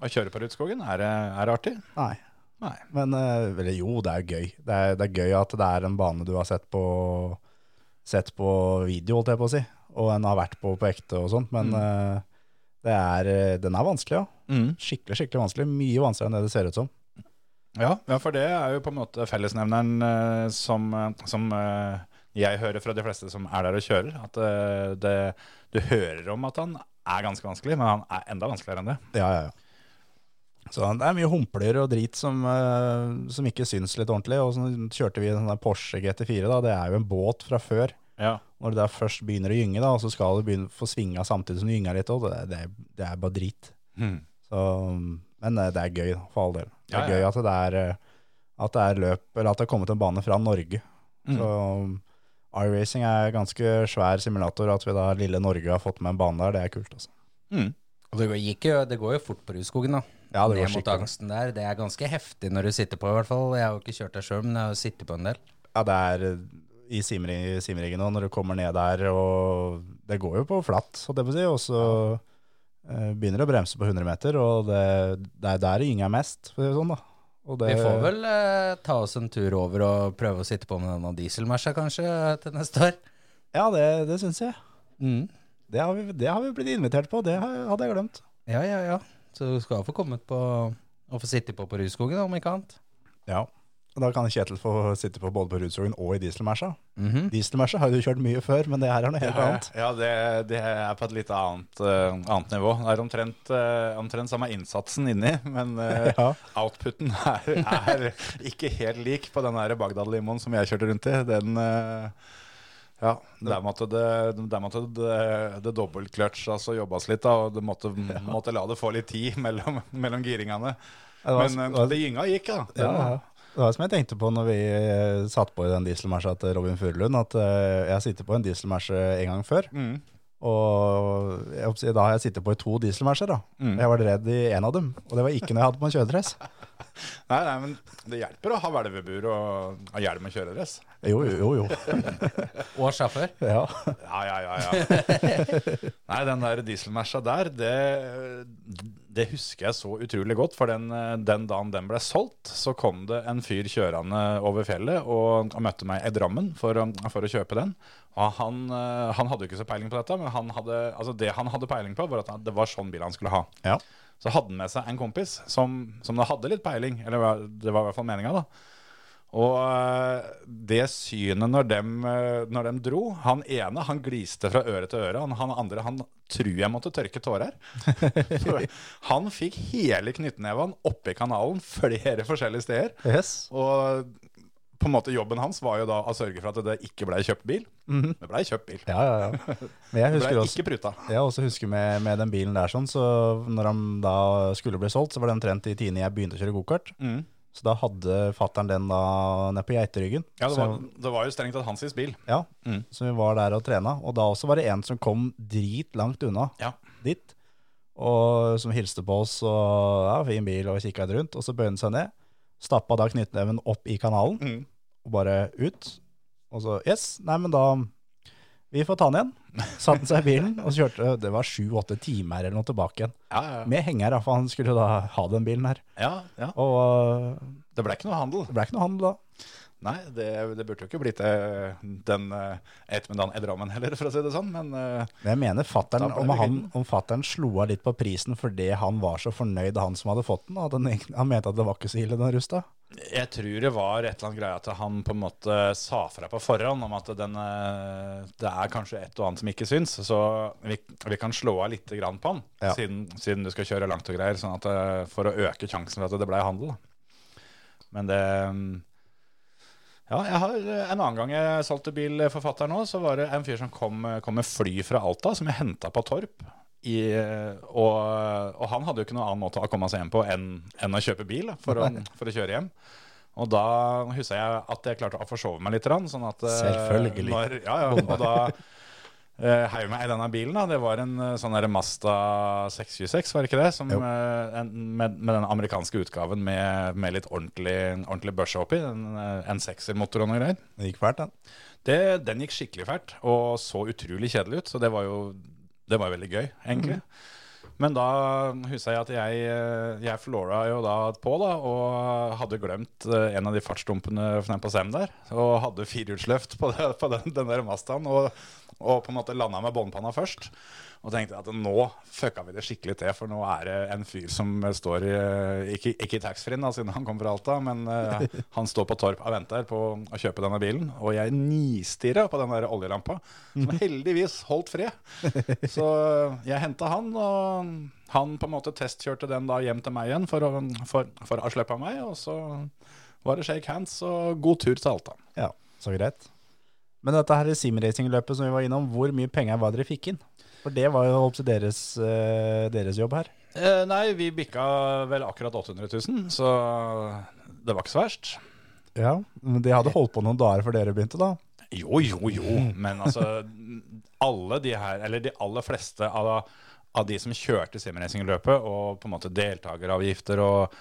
C: å kjøre på Rudskogen? Er, det- er det artig?
B: Nei.
C: Nei.
B: Men eh, eller jo, det er gøy. Det er, det er gøy at det er en bane du har sett på, sett på video, holdt jeg på å si, og en har vært på på ekte og sånt, men eh, det er, eh, den er vanskelig, ja.
C: Mm.
B: Skikkelig, skikkelig vanskelig. Mye vanskeligere enn det det ser ut som.
C: Ja, ja, for det er jo på en måte fellesnevneren eh, som, eh, som eh, jeg hører fra de fleste som er der og kjører. At eh, det, du hører om at han er ganske vanskelig, men han er enda vanskeligere enn det.
B: Ja, ja, ja. Så det er mye humpler og drit som, eh, som ikke syns litt ordentlig, og så kjørte vi en sånn der Porsche GT4 da, det er jo en båt fra før,
C: Ja.
B: når det da først begynner å gynge da, og så skal du begynne å få svinga samtidig som du gynger litt, og det, det, det er bare drit.
C: Mm.
B: Så, men eh, det er gøy, da, for all del. Det
C: Ja,
B: er
C: ja.
B: gøy at det er, eh, at det er løp, eller at det har kommet en bane fra Norge.
C: Mm.
B: Så um, iRacing er ganske svær simulator, at vi da lille Norge har fått med en bane der, det er kult. Altså.
C: Mm.
D: Og det, går, gikk jo, det går jo fort på Rudskogen, da.
B: Ja, det går
D: Ned mot
B: skikkelig.
D: angsten der. Det er ganske heftig når du sitter på, i hvert fall. Jeg har jo ikke kjørt der sjøl, men jeg har jo sittet på en del.
B: Ja, det er eh, i simri- simringen nå, når du kommer ned der, og det går jo på flatt, så det vil si, og så eh, begynner det å bremse på 100 meter, og det, det er der det gynger mest, for å si det sånn da. Og det-
D: Vi får vel eh, ta oss en tur over og prøve å sitte på med denne dieselmersa, kanskje, til neste år.
B: Ja, det, det synes jeg.
D: Mm.
B: Det har, vi, det har vi blitt invitert på, det har- hadde jeg glemt.
D: Ja, ja, ja. Så du skal få kommet på og få sitte på på Rudskogen, om ikke annet.
B: Ja. Og da kan Kjetil få sitte på både på Rudskogen og i dieselmersa.
D: Mhm.
B: Dieselmersa har du kjørt mye før, men det her er noe helt annet.
C: Ja, det, det er på et litt annet, eh, annet nivå. Det er omtrent, eh, omtrent samme innsatsen inni, men eh,
B: Ja.
C: outputen er, er ikke helt lik på den der Bagdad-limoen som jeg kjørte rundt i. Den, eh, ja, der måtte det, der måtte det, det dobbeltkløtsj altså jobbes litt, da, og det måtte, måtte la det få litt tid mellom, mellom giringene.
B: Det var,
C: Men
B: det
C: eh,
B: var,
C: det gynga gikk, da.
B: ja, ja. det var som jeg tenkte på når vi eh, satt på i den dieselmersa til Robin Furulund, at eh, jeg sitter på en dieselmerse en gang før.
C: Mm.
B: Og jeg, håper å si, da har jeg sittet på i to dieselmerser, da.
C: Mm.
B: Jeg var redd i en av dem, og det var ikke når jeg hadde på en kjøredress.
C: Nei, nei, men det hjelper å ha hvelvebur og, og hjelm og kjøredress.
B: Jo, jo, jo. jo.
D: Og sjåfør.
B: Ja.
C: (laughs) Ja, ja, ja, ja. (laughs) Nei, den der dieselmersa der, det, det husker jeg så utrolig godt. For den, den dagen den ble solgt, så kom det en fyr kjørende over fjellet og, og møtte meg i Drammen for, å- for å kjøpe den. Og han, eh, han hadde jo ikke så peiling på dette, men han hadde, altså det han hadde peiling på, var at han- det var sånn bil han skulle ha.
B: ja.
C: Så hadde han med seg en kompis som, som da hadde litt peiling, eller hva- det var i hvert fall meninga, da. Og eh, det synet når dem, eh, når dem dro Han ene han gliste fra øre til øre. Han, han andre han tror jeg måtte tørke tårer.
B: (laughs)
C: For han fikk hele knyttneven oppi kanalen flere forskjellige steder.
B: Yes.
C: Og på en måte jobben hans var jo da å sørge for at det ikke blei kjøpt bil. Det blei kjøpt bil.
B: Ja, ja, ja. Men jeg
C: Det
B: Mhm. husker
C: blei
B: også
C: ikke pruta.
B: Jeg også husker med, med den bilen der sånn, så når han da skulle bli solgt, så var det omtrent i tidene jeg begynte å kjøre gokart.
C: Mm.
B: Så da hadde fatteren den da nede på geiteryggen.
C: Ja, det, var,
B: så,
C: det var jo strengt tatt hans bil.
B: ja,
C: Mm.
B: så vi var der og trena. Og da også var det en som kom dritlangt unna
C: Ja.
B: dit, og som hilste på oss og ja, fin bil, og kikka litt rundt. Og så bøyde han seg ned, stappa da knyttneven opp i kanalen
C: Mm.
B: og bare ut. Og så yes, nei, men da Vi får ta den igjen. Satte han seg i bilen og så kjørte. øh, Det var sju-åtte timer eller noe tilbake igjen.
C: Ja, ja, ja.
B: Med henger, da, for han skulle da ha den bilen her.
C: ja, ja.
B: Og øh,
C: Det blei ikke noe handel.
B: det ble ikke noe handel da.
C: Nei, det, det burde jo ikke blitt eh, den eh, ettermiddagen i Drammen heller, for å si det sånn. Men eh,
B: Men jeg mener
C: Da
B: fatteren,
C: ble
B: om,
C: det
B: han,
C: bilden.
B: om fatteren slo av litt på prisen fordi han var så fornøyd, han som hadde fått den, og at han, egentlig- han mente at det var ikke så ille den rusta.
C: jeg tror det var et eller annet greie at han på en måte sa fra på forhånd om at den, eh, det er kanskje et og annet som ikke syns, så vi, vi kan slå av litt grann på han,
B: Ja.
C: siden, siden du skal kjøre langt og greier, sånn at, eh, for å øke sjansen for at det ble handel. Da. Men det mm, Ja, jeg har eh, en annen gang jeg solgte bil for fatteren òg, så var det en fyr som kom, eh, kom med fly fra Alta, som jeg henta på Torp. I, eh, og, og han hadde jo ikke noen annen måte å komme seg hjem på enn, enn å kjøpe bil da, for å, for å kjøre hjem. Og da husker jeg at jeg klarte å forsove meg litt, grann, sånn at eh,
B: Selvfølgelig.
C: Når, ja, ja, og da eh, heiv meg i denne bilen. da Det var en eh, sånn der Mazda 626, var det ikke det? Som,
B: Jo.
C: eh, en, med, med den amerikanske utgaven med, med litt ordentlig, ordentlig børse oppi. En, eh, en seksermotor og noe greier.
B: Det gikk fælt, den.
C: Det, den gikk skikkelig fælt og så utrolig kjedelig ut, så det var jo det var jo veldig gøy, egentlig. Men da huska jeg at jeg, eh, jeg flora jo da på, da, og hadde glemt eh, en av de fartsdumpene nede på Sem der. Og hadde firehjulsløft på, det, på den, den der Mazdaen, og, og på en måte landa med båndpanna først. Og tenkte at nå fucka vi det skikkelig til, for nå er det en fyr som står i eh, Ikke, ikke i taxfree-en, da, siden han kommer fra Alta, men eh, han står på Torp og venter på å kjøpe denne bilen. Og jeg nistirra på den der oljelampa, som heldigvis holdt fred. Så jeg henta han, og han på en måte testkjørte den da hjem til meg igjen for å, for, for å slippe meg. Og så var det shake hands og god tur til Alta.
B: Ja, så greit. Men dette her simracingløpet som vi var innom, hvor mye penger var dere fikk inn? For det var jo opp til deres, eh, deres jobb her.
C: Eh, nei, vi bikka vel akkurat 800 000, så det var ikke så verst.
B: Ja, men de hadde holdt på noen dager før dere begynte, da.
C: Jo, jo, jo, men altså alle de her, eller de aller fleste av, av de som kjørte simracingløpet, og på en måte deltakeravgifter og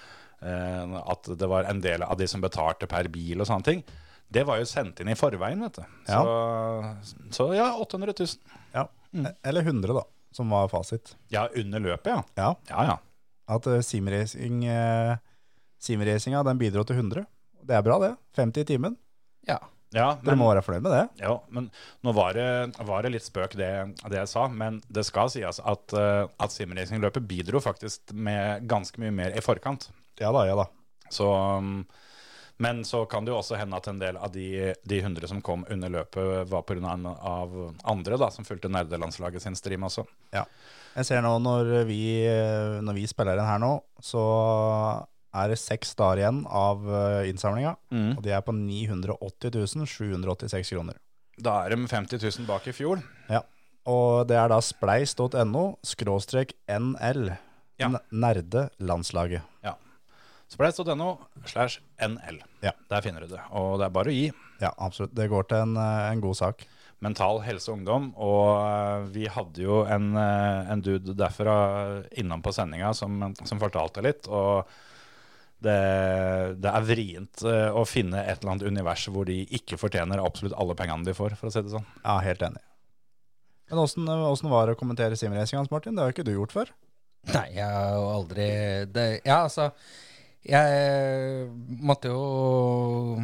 C: eh, at det var en del av de som betalte per bil og sånne ting, det var jo sendt inn i forveien, vet du. Så så, ja, 800 000.
B: Ja. e- Eller 100, da, som var fasit.
C: Ja, under løpet, ja.
B: Ja,
C: Ja, ja.
B: at eh, simracing, eh, simracinga den bidro til 100. Det er bra, det. 50 i timen.
D: Ja.
C: ja
B: Dere må være fornøyd med det.
C: Ja, men nå var det, var det litt spøk det, det jeg sa, men det skal sies at, eh, at simracingløpet bidro faktisk med ganske mye mer i forkant.
B: Ja da, ja da.
C: Så, um, men så kan det jo også hende at en del av de, de 100 som kom under løpet, var pga. av andre da, som fulgte nerdelandslaget sin stream også.
B: Jeg ser nå når vi, eh, når vi spiller inn her nå, så er det seks dager igjen av eh, innsamlinga. Og de er på 980 786 kroner.
C: Da er de 50 000 bak i fjor.
B: Ja. Og det er da spleis.no skråstrek NL.
C: Ja.
B: N- Nerdelandslaget.
C: Ja. Spleis.no slash NL.
B: Ja.
C: Der finner du det. Og det er bare å gi.
B: Ja, absolutt. Det går til en, eh, en god sak.
C: Mental Helse og Ungdom, og eh, vi hadde jo en, eh, en dude derfra innom på sendinga som, som fortalte litt, og det, det er vrient eh, å finne et eller annet univers hvor de ikke fortjener absolutt alle pengene de får, for å si det sånn.
B: Ja, helt enig. Men åssen eh, åssen var det å kommentere simracing, Hans Martin? Det har jo ikke du gjort før.
D: Nei, jeg har jo aldri det, Ja, altså Jeg måtte jo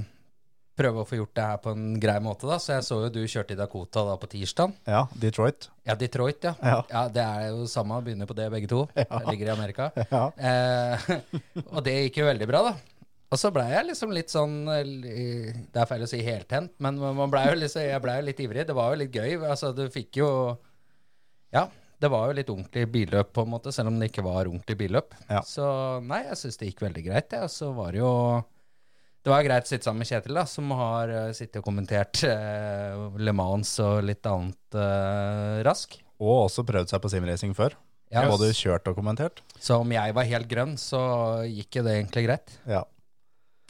D: prøve å få gjort det her på en grei måte, da. Så jeg så jo du kjørte i Dakota da på tirsdag.
B: Ja, Detroit.
D: Ja, Detroit, ja.
B: Ja. (laughs)
D: Det er jo samme, begynner på det begge to. Jeg Ligger i Amerika.
B: Ja.
D: Eh, (laughs) og det gikk jo veldig bra, da. Og så blei jeg liksom litt sånn eh, li- Det er feil å si heltent, men man ble jo liksom, jeg blei jo litt ivrig. Det var jo litt gøy. Altså, du fikk jo Ja, det var jo litt ordentlig billøp, på en måte, selv om det ikke var ordentlig billøp.
B: Ja.
D: Så nei, jeg syns det gikk veldig greit, jeg. Og så var det jo det var greit å sitte sammen med Kjetil, da, som har eh, sittet og kommentert eh, Le Mans og litt annet eh, rask.
B: Og også prøvd seg på simracing før.
D: Ja,
B: Både kjørt og kommentert.
D: Så om jeg var helt grønn, så gikk jo det egentlig greit.
B: Ja.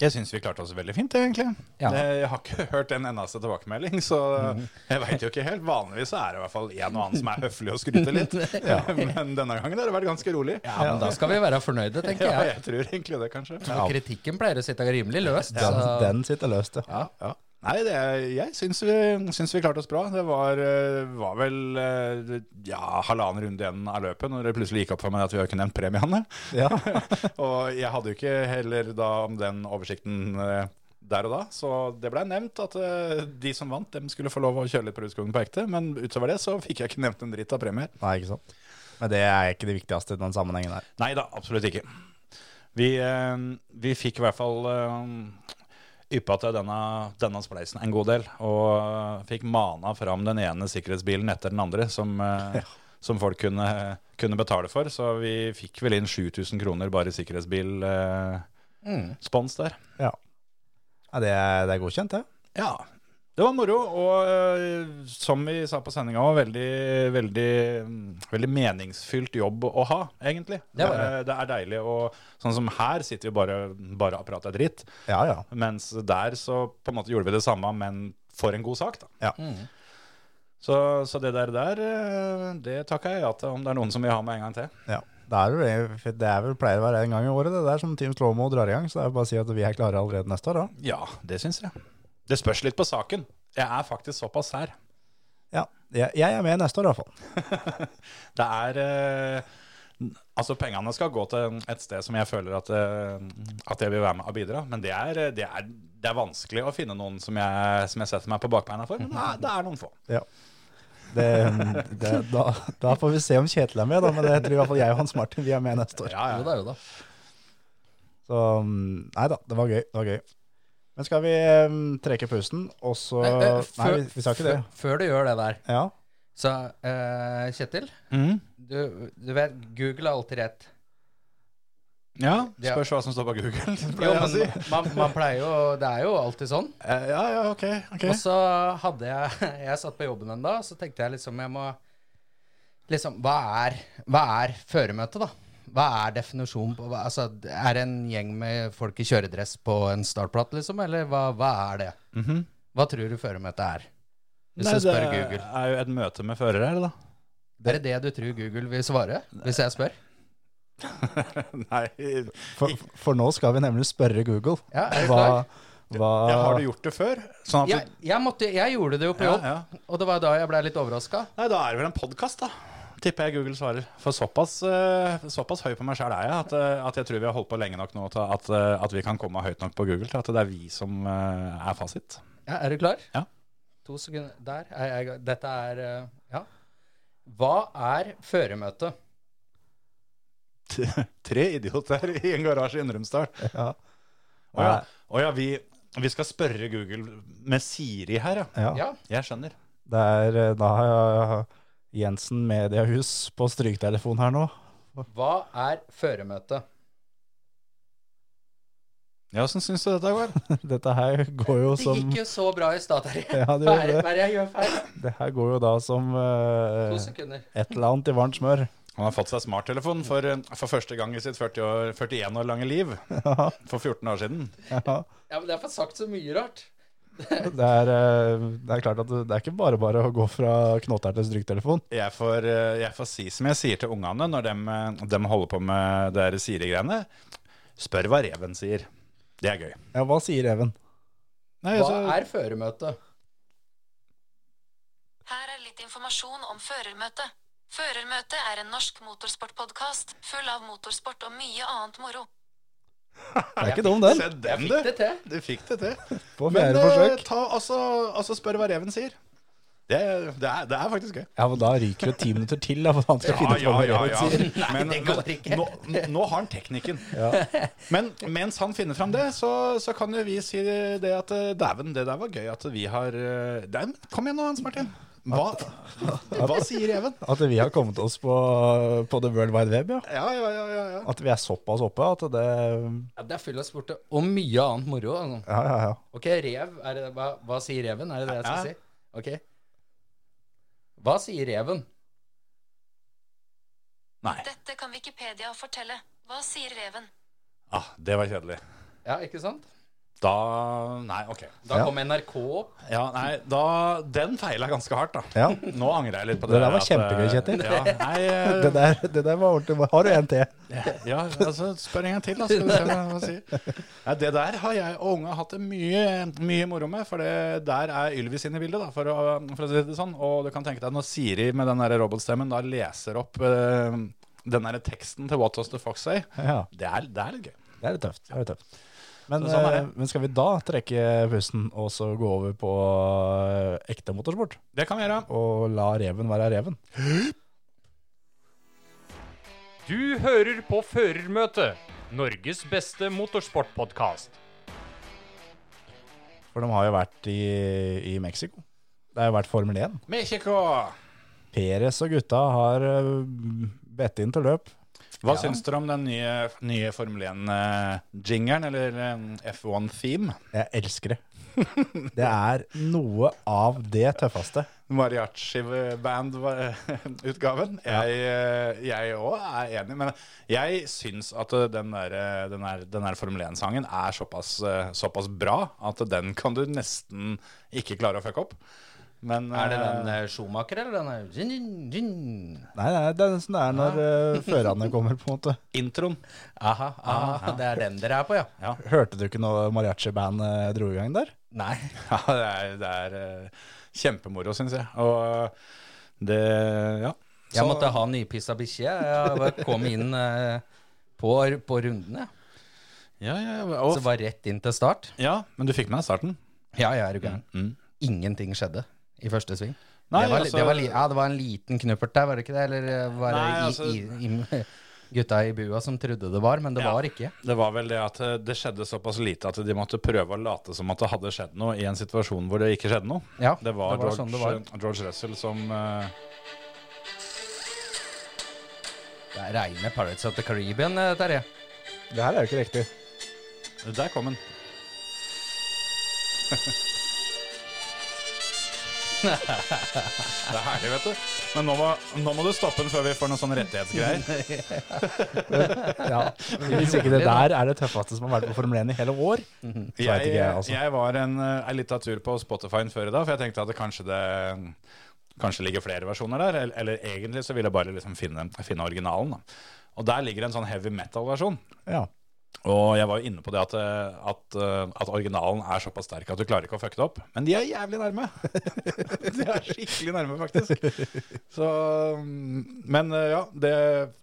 C: Jeg syns vi klarte oss veldig fint, egentlig.
D: Ja.
C: Det, jeg har ikke (laughs) hørt en eneste tilbakemelding, så
B: Mhm.
C: jeg veit jo ikke helt. Vanligvis er det i hvert fall en og annen som er høflig og skryter
B: (laughs)
C: litt, (laughs) men denne gangen har det vært ganske rolig.
D: Ja, men da skal vi være fornøyde, tenker
C: (laughs) Ja,
D: jeg.
C: jeg tror egentlig det, kanskje.
D: Og kritikken pleier å sitte rimelig løst.
B: Den,
D: så-
B: den sitter løst, ja.
C: Ja. Nei, det, jeg syns vi, syns vi klarte oss bra. Det var, eh, var vel eh, ja, halvannen runde igjen av løpet når det plutselig gikk opp for meg at vi har ikke nevnt premiene.
B: Ja.
C: (laughs) og jeg hadde jo ikke heller da om den oversikten eh, der og da, så det blei nevnt at eh, de som vant, dem skulle få lov å kjøre litt på Rudskogen på ekte. Men utover det så fikk jeg ikke nevnt en dritt av premier.
B: Nei, ikke sant. Men det er ikke det viktigste i den sammenhengen her.
C: Nei da, absolutt ikke. Vi, eh, vi fikk i hvert fall eh, yppa til denne, denne spleisen en god del, og eh, fikk mana fram den ene sikkerhetsbilen etter den andre som, eh, som folk kunne, kunne betale for. Så vi fikk vel inn 7000 kroner bare i sikkerhetsbilspons
D: Mm.
C: der.
B: Ja. Ja, det, er, det er godkjent, det.
C: Ja, det var moro, og eh, som vi sa på sendinga òg, veldig, veldig, mm, veldig meningsfylt jobb å ha, egentlig.
D: Det var det.
C: er- det er deilig å Sånn som her sitter vi bare, bare og prater dritt,
B: Ja, ja.
C: mens der så på en måte gjorde vi det samme, men for en god sak, da.
B: Ja.
C: Så, så det der, der, eh, det takker jeg ja til, om det er noen som vil ha meg en gang til.
B: Ja. Det er, jo, det- det er vel pleier å være en gang i året, det der som Team Slåmo drar i gang. Så det er jo bare å si at vi er klare allerede neste år, da.
C: Ja, det syns jeg. Det spørs litt på saken. Jeg er faktisk såpass sær.
B: Ja. Jeg, jeg er med neste år, i hvert fall.
C: Det er eh, Altså, pengene skal gå til et sted som jeg føler at, eh, at jeg vil være med og bidra, men det er, det er, det er vanskelig å finne noen som jeg, som jeg setter meg på bakbeina for. Men det er- det er noen få.
B: Ja. Det, det, da, da får vi se om Kjetil er med, da. Men det tror i hvert fall jeg og Hans Martin vi er med neste år.
C: Ja,
D: Jo
C: ja.
D: da, jo da.
B: Så mm, nei da, det var gøy. Det var gøy. Men skal vi mm, trekke pusten, og så
D: Eh, eh,
B: Nei,
D: før-
B: vi, vi sa ikke det.
D: før- Før du gjør det der,
B: Ja.
D: så eh, Kjetil,
C: Mhm.
D: du, du vet, Google er alltid rett.
C: ja
D: Ja.
C: spørs hva som står på Google. (laughs)
D: Jo,
C: pleier jeg å si.
D: men man, man pleier jo Det er jo alltid sånn.
C: Eh, Ja, ja, ok. ok.
D: Og så hadde jeg Jeg satt på jobben en dag, så tenkte jeg liksom Jeg må Liksom, hva er, hva er føremøte, da? Hva er definisjonen på hva, Altså, er det en gjeng med folk i kjøredress på en startplate, liksom? Eller hva, hva er det?
C: Mhm.
D: Hva tror du føremøtet er? Hvis
C: Nei,
D: jeg spør
C: det
D: Google.
C: er jo et møte med fører her, da. (laughs)
D: Er det det du tror Google vil svare? Hvis jeg spør?
C: Nei,
B: For, for nå skal vi nemlig spørre Google.
D: Ja, er du
B: Hva,
D: klar?
B: hva
D: Ah.
C: ja, har du gjort det før? Sånn at
D: Jeg, jeg, måtte, jeg gjorde det jo
C: du,
D: på
C: ja,
D: jobb,
C: ja.
D: og det var da jeg ble litt overraska.
C: Nei, da er det vel en podkast, da. Tipper jeg Google svarer. For såpass, eh, såpass høy på meg sjæl er jeg at, eh, at jeg tror vi har holdt på lenge nok nå til at, eh, at vi kan komme høyt nok på Google til at det er vi som eh, er fasit.
D: Ja, er du klar?
C: Ja.
D: To sekunder. Der er jeg i gang. Dette er eh, Ja. Hva er føremøte?
C: Tre idioter (laughs) i en garasje i Indrumsdal.
B: ja.
C: Å ja, å ja vi, vi skal spørre Google med Siri her, ja.
B: Ja.
D: Ja.
C: Jeg skjønner.
B: Det er eh, da har jeg Jensen Mediehus på stryktelefon her nå. (laughs)
D: Hva er føremøte?
C: Ja, Åssen syns du dette går?
B: Dette her går jo
D: Det
B: som
D: gikk jo så bra i stad, Terje.
B: (laughs) ja, det,
D: Hva er
B: gjør
D: det
B: det.
D: hva er det jeg gjør feil?
B: det her går jo da som
D: To
B: eh,
D: sekunder.
B: et eller annet i varmt smør.
C: (laughs)
B: (laughs)
C: Han har fått seg smarttelefon for, eh, for første gang i sitt 40 år, 41 år lange liv.
B: Ja,
C: For 14 år siden.
B: ja.
D: Ja, men Jeg får sagt så mye rart.
B: Det er, eh, det er klart at det det er ikke bare bare å gå fra knotter til stryktelefon.
C: Jeg får, eh, jeg får si som jeg sier til ungene når de, holder på med det her Siri-greiene. Spør hva reven sier. Det er gøy.
B: Ja, hva sier Even?
C: Nei,
D: Hva
C: altså,
D: er føremøte?
E: Her er litt informasjon om Førermøtet. Førermøtet er en norsk motorsportpodkast full av motorsport og mye annet moro.
B: Det er ikke dum, den.
C: Se den,
D: Fikk det
C: du!
D: til.
C: Du fikk det til.
B: På
C: Men
B: fjerde
C: eh,
B: forsøk.
C: ta, altså, altså spør hva reven sier. Det, det, er, det er faktisk gøy.
B: Ja, men da ryker det ti minutter til da, for han skal finne på hva Even sier.
D: (laughs)
C: Men,
D: det går ikke.
C: Nå, nå har han teknikken.
D: (laughs)
C: Men mens han finner fram det, så, så kan jo vi si det at eh, dæven, det der var gøy at vi har eh, den, Kom igjen nå, Hans Martin. Hva, hva sier reven?
B: At vi har kommet oss på, på The World Wide Web, ja.
C: Ja, ja, ja, ja, ja.
B: At vi er såpass oppe at det
D: Ja, det er full av sport og mye annet moro. altså.
B: Ja, ja, ja.
D: Ok, rev. Er det, hva, hva sier reven? Er det det jeg skal
C: Ja.
D: si? Ok. Hva sier reven?
C: Nei.
E: Dette kan Wikipedia fortelle. Hva sier reven?
C: Ah, det var kjedelig.
D: Ja, ikke sant?
C: Da Nei, ok.
D: Da
B: Ja.
D: kom NRK opp.
C: Ja, nei, da, den feila ganske hardt, da.
B: ja.
C: Nå angrer jeg litt på
B: Det
C: det.
B: der var
C: at, eh,
B: kjempegøy, Kjetil.
C: Ja, nei, eh,
B: Det der, det der var ordentlig. Har du en til?
C: (laughs) ja, altså, spør en gang til, da, skal vi se hva han sier. Nei, det der har jeg og unga hatt det mye, mye moro med, for det, der er Ylvis inne i bildet, da, for å, for å si det sånn. Og du kan tenke deg når Siri med den der robotstemmen da leser opp eh, den der teksten til What Does The Fox Say,
B: Ja,
C: det er, det er litt gøy.
B: det er litt tøft. Det er litt tøft. Men,
C: Så sånn er
B: eh,
C: det.
B: men skal vi da trekke pusten og så gå over på eh, ekte motorsport?
C: Det kan vi gjøre.
B: Og la reven være reven?
F: Du hører på Førermøtet, Norges beste motorsportpodkast.
B: For de har jo vært i, i Mexico. Det har jo vært Formel 1.
C: Mexico!
B: Peres og gutta har eh, bedt inn til løp.
C: Hva syns dere om den nye, nye Formel 1-jingeren, eller eh, F1-theme?
B: Jeg elsker det. Det er noe av det tøffeste.
C: eh, Mariachi-band-utgaven. eh, Jeg òg er enig, men jeg syns at eh, den der, den der, den der Formel 1-sangen er såpass, eh, såpass bra at den kan du nesten ikke klare å fucke opp. Men
D: Er det
C: eh,
D: den eh, Schumacher, eller den er zin, zin, zin.
B: Nei, nei, det er sånn det er når eh, førerne kommer, på en måte.
C: introen?
D: Aha,
C: Ah.
D: aha, det er den dere er på, ja.
B: Hørte du ikke noe mariachi-band eh, dro i gang der?
D: Nei.
C: (laughs) Ja, det er, det er eh, kjempemoro, syns jeg. Og eh, det Ja.
D: Jeg måtte ha nypissa bikkje. Jeg bare kom inn eh, på, på rundene.
C: Ja, ja, ja,
D: Så
C: og,
D: var rett inn til start.
C: ja, men du fikk med deg starten?
D: Ja, ja, er du gæren. Ingenting skjedde i første sving.
C: Mm, Nei,
D: det, var,
C: altså-
D: det, var, li- ja, det var en liten knuppert der, var det ikke det? Eller eh, var det
C: Nei,
D: i,
C: altså-
D: i, i, gutta i bua som trodde det var, men det
C: Ja.
D: var ikke.
C: Det var vel det at eh, det skjedde såpass lite at de måtte prøve å late som at det hadde skjedd noe i en situasjon hvor det ikke skjedde noe.
D: Ja,
C: Det var, George,
D: sånn det var.
C: George Russell som eh,
D: Det er reine Pirates of the Caribbean, eh, Terje.
B: Det her er jo ikke
D: (laughs)
B: riktig.
C: Der kom han. (laughs) det er herlig, vet du. Men nå må, nå må du stoppe den før vi får noen sånne rettighetsgreier.
B: Ja. Hvis ikke det der er det tøffeste som har vært på Formel 1 i hele år,
D: Mhm.
B: så veit
C: Jeg,
B: ikke jeg, altså.
C: jeg var en, eh, en liten tur på Spotify før i dag, for jeg tenkte at det kanskje det kanskje ligger flere versjoner der. Eller, eller egentlig så vil jeg bare liksom finne, finne originalen. Da. Og der ligger en sånn heavy metal-versjon.
B: Ja.
C: Og jeg var jo inne på det at, eh, at, eh, at originalen er såpass sterk at du klarer ikke å fucke det opp. Men de er jævlig nærme. (laughs) de er skikkelig nærme, faktisk. Så, mm, men eh, ja, det,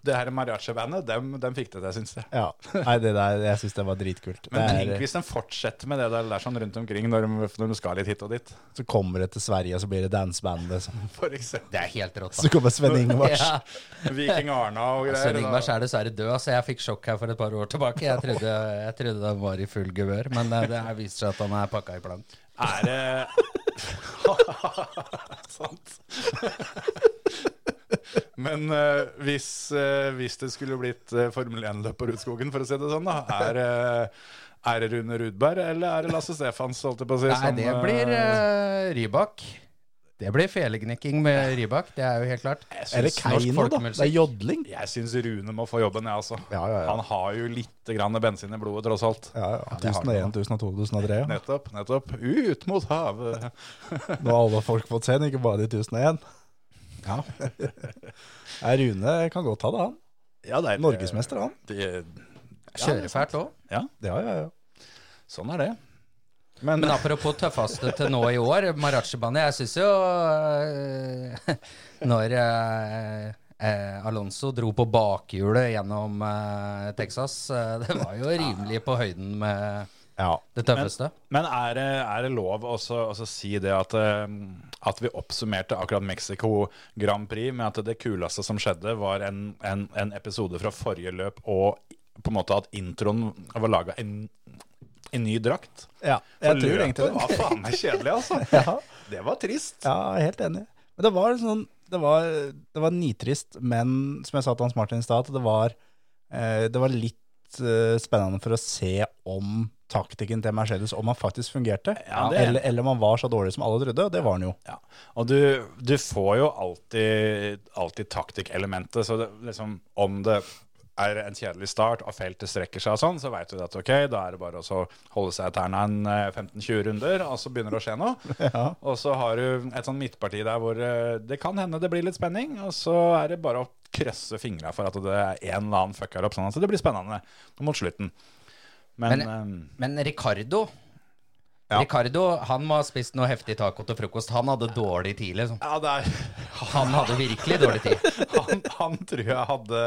C: det her mariachi-bandet, dem, dem fikk det til, syns jeg.
B: ja. Nei, det der, jeg syns det var dritkult.
C: Men
B: Det
C: tenk
B: er,
C: hvis de fortsetter med det der, der sånn rundt omkring når de, når de skal litt hit og dit,
B: så kommer det til Sverige, og så blir det dansebandet. som- (laughs)
C: for eksempel.
D: Det er helt rått.
B: Så kommer Sven Ingvars.
D: Ja.
C: Viking Arna og greier.
D: Sven Ingvar
C: da.
D: er dessverre død, så jeg fikk sjokk her for et par år tilbake. Jeg trodde, jeg trodde han var i full gevør, men eh, det her viser seg at han er pakka i plank.
C: Er det (laughs) Sant. Men eh, hvis, eh, hvis det skulle blitt eh, Formel 1-løp på Rudskogen, for å si det sånn, da, er, eh, er det Rune Rudberg eller er det Lasse Stefans, holdt jeg på å si?
D: Nei,
C: som,
D: det blir
C: eh,
D: eh, Rybak. Det blir felegnikking med Rybak, det er jo helt klart.
C: jeg
B: Eller
D: norsk
C: syns-
B: Keiino, da. Det er
D: folkemusikk.
B: jodling.
C: Jeg syns Rune må få jobben, jeg, altså.
B: Ja, ja, ja.
C: Han har jo litt grann bensin i blodet, tross alt.
B: Ja, ja. 1001, 1002,
C: (laughs)
B: 1003. Ja.
C: Nettopp, nettopp. Ut mot havet.
B: Nå har alle folk fått se den, ikke bare de 1001.
D: Ja.
B: Nei, Rune kan godt ha det, han.
C: Ja, det er- eh,
B: Norgesmester, han.
C: Det-
D: Kjører fælt òg.
B: Ja, ja, ja.
C: Sånn er det.
D: Men apropos tøffeste til nå i år, Marachi-bandet. Jeg syns jo øh, (laughs) Når øh, øh, Alonso dro på bakhjulet gjennom øh, Texas, øh, det var jo rimelig på høyden med
B: ja.
D: det tøffeste.
C: Men er det, er det lov å så- å så si det at, eh, at vi oppsummerte akkurat Mexico Grand Prix med at det kuleste som skjedde, var en, en, en episode fra forrige løp, og på en måte at introen var laga en, en ny drakt?
B: ja.
C: For
B: Jeg tror egentlig
C: løpet
B: (laughs) det.
C: var faen meg kjedelig, altså.
B: (laughs) Ja.
C: Det var trist.
B: Ja, jeg er helt enig. Men det var sånn Det var, det var nitrist, men som jeg sa til Hans Martin i stad, at det var eh, Det var litt eh, spennende for å se om taktikken til Mercedes Om han faktisk fungerte,
C: Ja, det-
B: eller, eller om han var så dårlig som alle trodde. Og det var han jo.
C: Ja. Og du, du får jo alltid, alltid taktikkelementet. Så det, liksom, om det er en kjedelig start og feltet strekker seg og sånn, så veit du at ok, da er det bare å så holde seg i tærne en eh, 15-20 runder, og så begynner det å skje noe. Og så har du et sånn midtparti der hvor eh, det kan hende det blir litt spenning, og så er det bare å krøsse fingra for at det er en eller annen fucker opp, sånn at det blir spennende mot slutten. Men, eh,
D: Men Ricardo Ricardo han må ha spist noe heftig taco til frokost. Han hadde dårlig tid, liksom.
C: ja, det er
D: Han hadde virkelig dårlig tid.
C: han, han tror jeg hadde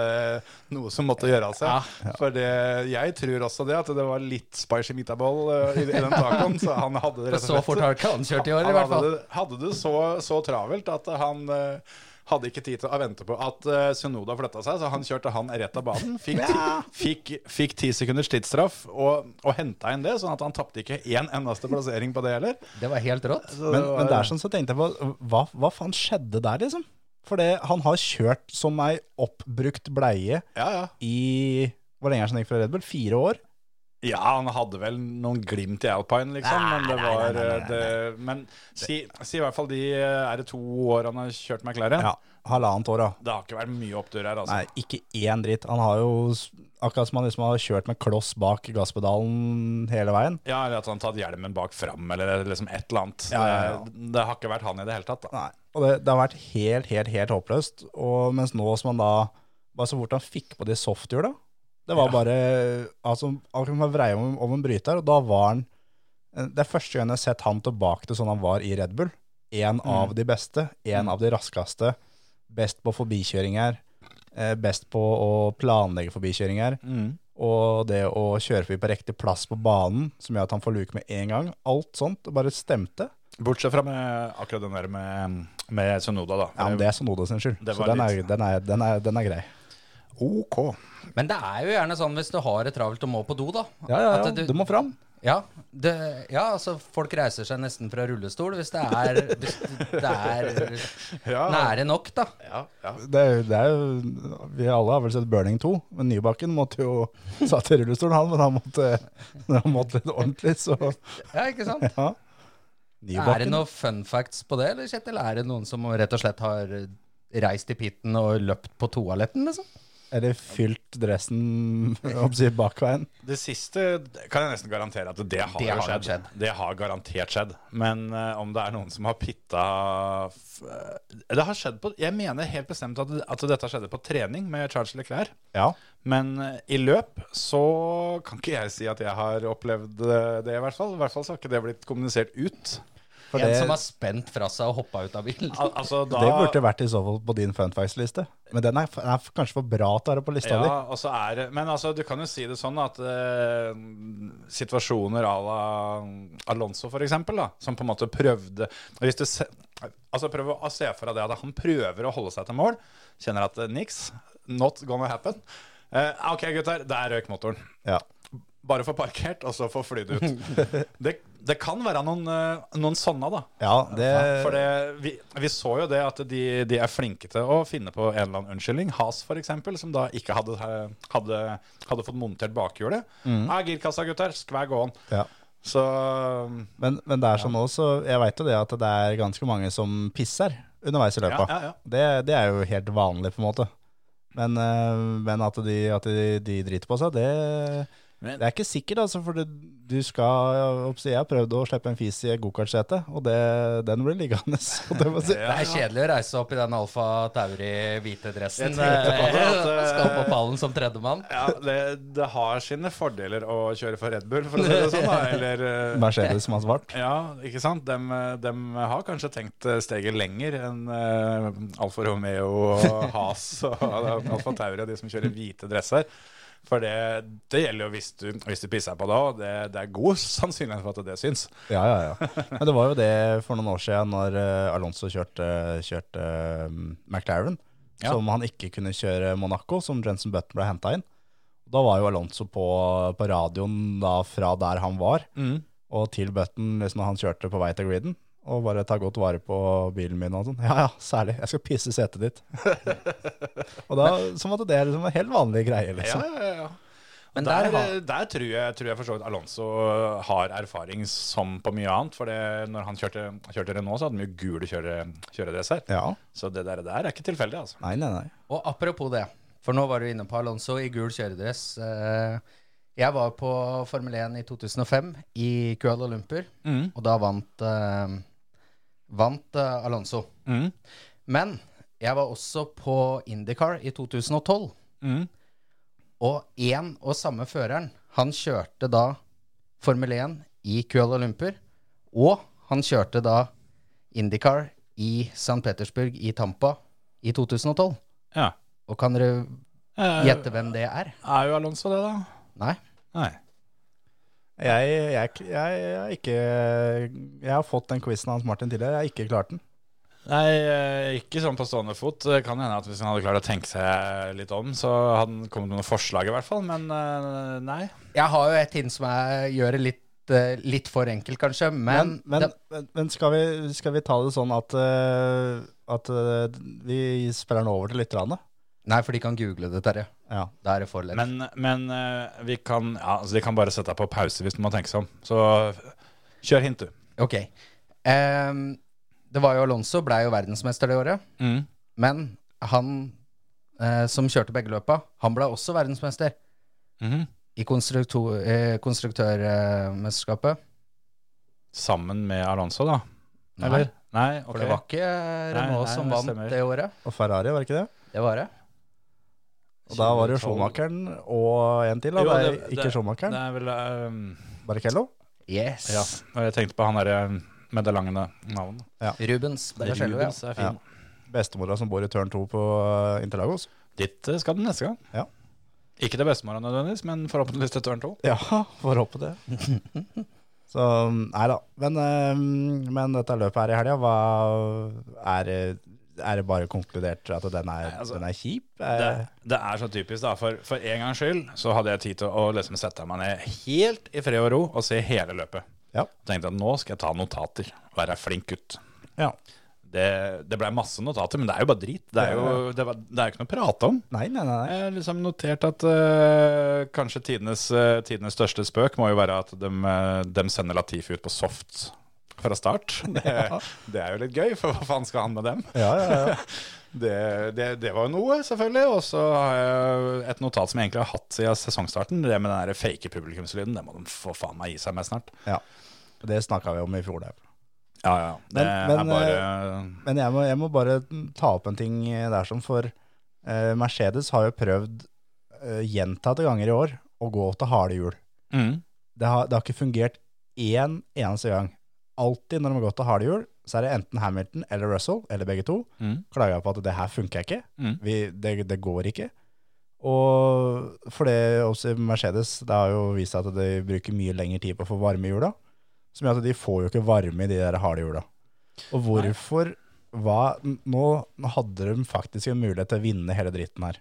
C: noe som måtte gjøre av seg. For det, jeg tror også det, at det var litt spicy meatball eh, i, i den tacoen. Så han hadde det rett
D: Så
C: og
D: fort
C: slett.
D: har ikke han kjørt i år, i
C: Han
D: hvert fall.
C: hadde det, hadde det så, så travelt at han eh, hadde ikke tid til å vente på at uh, Sunoda flytta seg, så han kjørte han rett av banen. Fikk ti, fikk, fikk ti sekunders tidsstraff og, og henta inn det, sånn at han tapte ikke én eneste plassering på det heller.
D: Det var helt rått.
C: Så
B: Men,
C: det
B: men
C: var-
B: der sånn så tenkte jeg på hva, hva faen skjedde der, liksom? For det, han har kjørt som ei oppbrukt bleie
C: ja, ja.
B: i Hvor lenge er det han gikk fra Red Bull? Fire år?
C: Ja, han hadde vel noen glimt i Alpine, liksom. men det var eh, Det, Men si, si i hvert fall de eh, Er det to år han har kjørt McLaren?
B: Ja. halvannet år, da.
C: Det har ikke vært mye opptur her, altså.
B: Nei, ikke én dritt. Han har jo s- akkurat som han liksom har kjørt med kloss bak gasspedalen hele veien.
C: Ja, eller at han tatt hjelmen bak fram, eller liksom et eller annet.
B: Ja, ja, ja.
C: Det, det har ikke vært han i det hele tatt, da.
B: Nei. Og det, det har vært helt, helt, helt håpløst. Og mens nå som han da Bare så fort han fikk på de softhjula Det var bare Altså, han kunne bare vreie om, om en bryter, og da var han eh, Det er første gang jeg har sett han tilbake til sånn han var i Red Bull. En av de beste, en av de raskeste. Best på forbikjøringer. eh, Best på å planlegge forbikjøringer. Og det å kjøre forbi på riktig plass på banen, som gjør at han får luke med en gang. Alt sånt bare stemte.
C: Bortsett fra med akkurat den der med, med Sunoda, da.
B: Ja, men det er Sonoda sin skyld.
C: Eh, Det
B: Så
C: var
B: den er,
C: litt-
B: den, er, den, er, den er grei.
C: OK.
D: Men det er jo gjerne sånn hvis du har det travelt og må på do, da.
B: Ja, ja, ja.
D: At
B: Du,
D: du-
B: må fram.
D: Ja, det, ja, altså folk reiser seg nesten fra rullestol hvis det er, hvis det er
C: Ja.
D: nære nok, da.
B: Det, er jo- det er jo, vi alle har vel sett Burning 2, men Nybakken måtte jo (laughs) satt i rullestolen, han, men han måtte, når han måtte litt ordentlig, så
D: Ja, ikke sant?
B: ja.
D: Er det
B: Nybakken.
D: noen fun facts på det, eller Kjetil? Er det noen som rett og slett har reist i pitten og løpt på toaletten, liksom?
B: Eller fylt dressen (laughs) om å si, bakveien.
C: Det siste kan jeg nesten garantere at det har,
D: Det
C: jo
D: har nok
C: skjedd. Det har garantert skjedd. Men eh, om det er noen som har pitta f eh, Det har skjedd på Jeg mener helt bestemt at, at dette skjedde på trening med Charles Leclerc.
B: Ja.
C: Men eh, i løp så kan ikke jeg si at jeg har opplevd eh, det, i hvert fall. I hvert fall så har ikke det blitt kommunisert ut.
B: For
D: en
B: det,
D: som har spent fra seg og hoppa ut av bilen?
C: Al altså, da,
B: det burde vært i så fall på din fun facts-liste. Men den er, den er kanskje for bra til å være på lista
C: ja,
B: di.
C: og så er det- Men altså, du kan jo si det sånn at eh, situasjoner à la Alonso, for eksempel, da, som på en måte prøvde Hvis du se, altså prøv å se for deg det at han prøver å holde seg til mål, kjenner at eh, niks, not gonna happen. Eh, ok, gutter, der røyk motoren.
B: Ja.
C: Bare få parkert, og så få flydd ut. Det, det kan være noen, eh, noen sånne, da.
B: ja, det
C: For det, vi, vi så jo det at de, de er flinke til å finne på en eller annen unnskyldning. Has f.eks., som da ikke hadde, hadde, hadde fått montert bakhjulet. Ja, girkassa, gutter. Skvær gåen.
B: ja.
C: Så
B: Men, men det er sånn også, jeg vet jo det at det er ganske mange som pisser underveis i løpet.
C: Ja, ja, ja.
B: Det, det er jo helt vanlig på en måte. Men, eh, men at, de, at de, de driter på seg, det,
C: Men-
B: det er ikke sikkert. Altså, for det, du skal, oppsi, jeg har prøvd å slippe en fis i et gokartsete, og det, den blir liggende. (laughs) Så det må si.
D: Det er kjedelig å reise seg opp i den Alfa Tauri-hvite dressen.
C: Jeg tenkte på det, at, eh,
D: Skal på pallen som tredjemann.
C: ja, det, det har sine fordeler å kjøre for Red Bull, for å si det sånn. Da. Eller eh,
B: Mercedes som har svart.
C: Ja, ikke sant? De, har kanskje tenkt eh, steget lenger enn eh, Alfa Romeo og Has og eh, Alfa Tauri og de som kjører hvite dresser. For det, det gjelder jo hvis du, hvis du pisser på det òg. Det, det er god sannsynlighet for at det syns.
B: Ja, ja, ja. Men det var jo det for noen år siden når eh, Alonso kjørte, kjørte eh, McLaren,
C: Ja.
B: som han ikke kunne kjøre Monaco, som Jensen Button ble henta inn. Da var jo Alonso på, på radioen da fra der han var,
C: Mm.
B: og til Button liksom, når han kjørte på vei til griden. Og bare ta godt vare på bilen min og sånn. Ja, ja, særlig. Jeg skal pisse i setet ditt. (laughs) og da, som at det er liksom en helt vanlig greie, liksom.
C: ja, ja.
D: Men
C: der, eh,
D: der har-
C: der tror jeg, tror jeg for så vidt Alonso har erfaring som på mye annet. For det, når han kjørte, kjørte Renault, så hadde han jo gule kjøre, kjøredresser.
B: Ja.
C: Så det der, der er ikke tilfeldig, altså.
B: Nei, nei, nei.
D: Og apropos det, for nå var du inne på Alonso i gul kjøredress. Eh, Jeg var på Formel 1 i 2005 i Kuala Lumpur, og da vant, eh, vant eh, Alonso.
C: Mm,
D: Men jeg var også på Indycar i 2012,
C: mm.
D: og én og samme føreren, han kjørte da Formel 1 i Kuala Lumpur, og han kjørte da Indycar i St. Petersburg i Tampa i 2012.
C: Ja.
D: Og kan dere
C: Eh,
D: gjette hvem det er?
C: er jo Alonso det, da?
D: Nei?
C: Nei.
B: Jeg, jeg, jeg, jeg, har ikke, jeg har fått den quizen hans Martin tidligere, jeg har ikke klart den.
C: Nei, eh, ikke sånn på stående fot. Det kan hende at hvis han hadde klart å tenke seg litt om, så hadde han kommet med noen forslag i hvert fall, men eh, nei.
D: Jeg har jo et hint som jeg gjør det litt, eh, litt for enkelt, kanskje, men,
B: Men, men,
D: det,
B: men, men skal, vi, skal vi ta det sånn at, eh, at eh, vi spiller den over til lytterne?
D: Nei, for de kan google det, Terje.
B: Ja.
D: Da er det for lett.
C: Men, men eh, vi kan ja, altså, De kan bare sette deg på pause hvis du må tenke seg om. Så kjør hint, du.
D: Ok. Ehm, det var jo Alonso, blei jo verdensmester det året. Men han eh, som kjørte begge løpa, han ble også verdensmester
C: Mhm.
D: i konstruktor- eh, konstruktørmesterskapet.
C: Sammen med Alonso, da?
D: Nei,
C: Eller? Nei,
D: For
C: ok.
D: det var ikke eh, Renault
C: Nei, nei,
D: som
C: det
D: vant
C: stemmer.
D: det året.
B: Og Ferrari, var det ikke det?
D: Det var det.
B: Og da var det jo Schumacheren og en til. Da.
C: Jo,
B: det,
C: det-
B: er ikke
C: det-
B: Schumacheren,
C: Det er vel ehm,
B: Barrichello.
D: Yes.
C: Ja, og jeg tenkte på han derre med det lange navnet.
D: Rubens. Barrichello, ja.
C: Rubens er fin.
B: Bestemora som bor i tørn 2 på eh, Interlagos.
C: Dit eh, skal den neste gang.
B: Ja.
C: Ikke til bestemora nødvendigvis, men forhåpentligvis til tørn to.
B: Ja, (laughs) får håpe det. Så mm, nei da. Men, eh, men dette løpet her i helga, hva er det- Er det bare konkludert at den er,
C: Nei, altså,
B: den er kjip?
C: det,
B: Eh,
C: det er så typisk, da. For, for en gangs skyld så hadde jeg tid til å liksom sette meg ned helt i fred og ro og se hele løpet.
B: Ja.
C: Tenkte at nå skal jeg ta notater, være flink gutt.
B: Ja.
C: Det, det blei masse notater, men det er jo bare drit. Det er jo, det var, det er jo ikke noe å prate om.
B: Nei, nei, nei.
C: (laughs)
B: nei.
C: Jeg har liksom notert at eh, kanskje tidenes, eh, tidenes største spøk må jo være at de, sender Latifi ut på soft fra start.
B: (laughs)
C: Det, det er jo litt gøy, for hva faen skal han med dem?
B: Ja, ja, ja.
C: (laughs) Det, det, det var jo noe, selvfølgelig. Og så har jeg et notat som jeg egentlig har hatt siden sesongstarten. Det med den der fake publikumslyden. Det må de få faen meg gi seg med snart.
B: ja. Det snakka vi om i fjor. Der.
C: Ja, ja. Det
B: Men- men, eh,
C: er bare
B: Men jeg må, jeg må bare ta opp en ting der som for eh, Mercedes har jo prøvd eh, gjentatte ganger i år å gå til harde hjul.
C: mm,
B: Det har, det har ikke fungert én eneste gang. Alltid når de har gått til harde hjul, så er det enten Hamilton eller Russell, eller begge to,
C: Mm.
B: klager på at det her funker ikke.
C: Mm.
B: Vi, det, det går ikke. Og for det også i Mercedes, det har jo vist seg at de bruker mye lengre tid på å få varme i hjula, som gjør at de får jo ikke varme i de der harde hjula. Og hvorfor hva, nå, nå hadde de faktisk en mulighet til å vinne hele dritten her.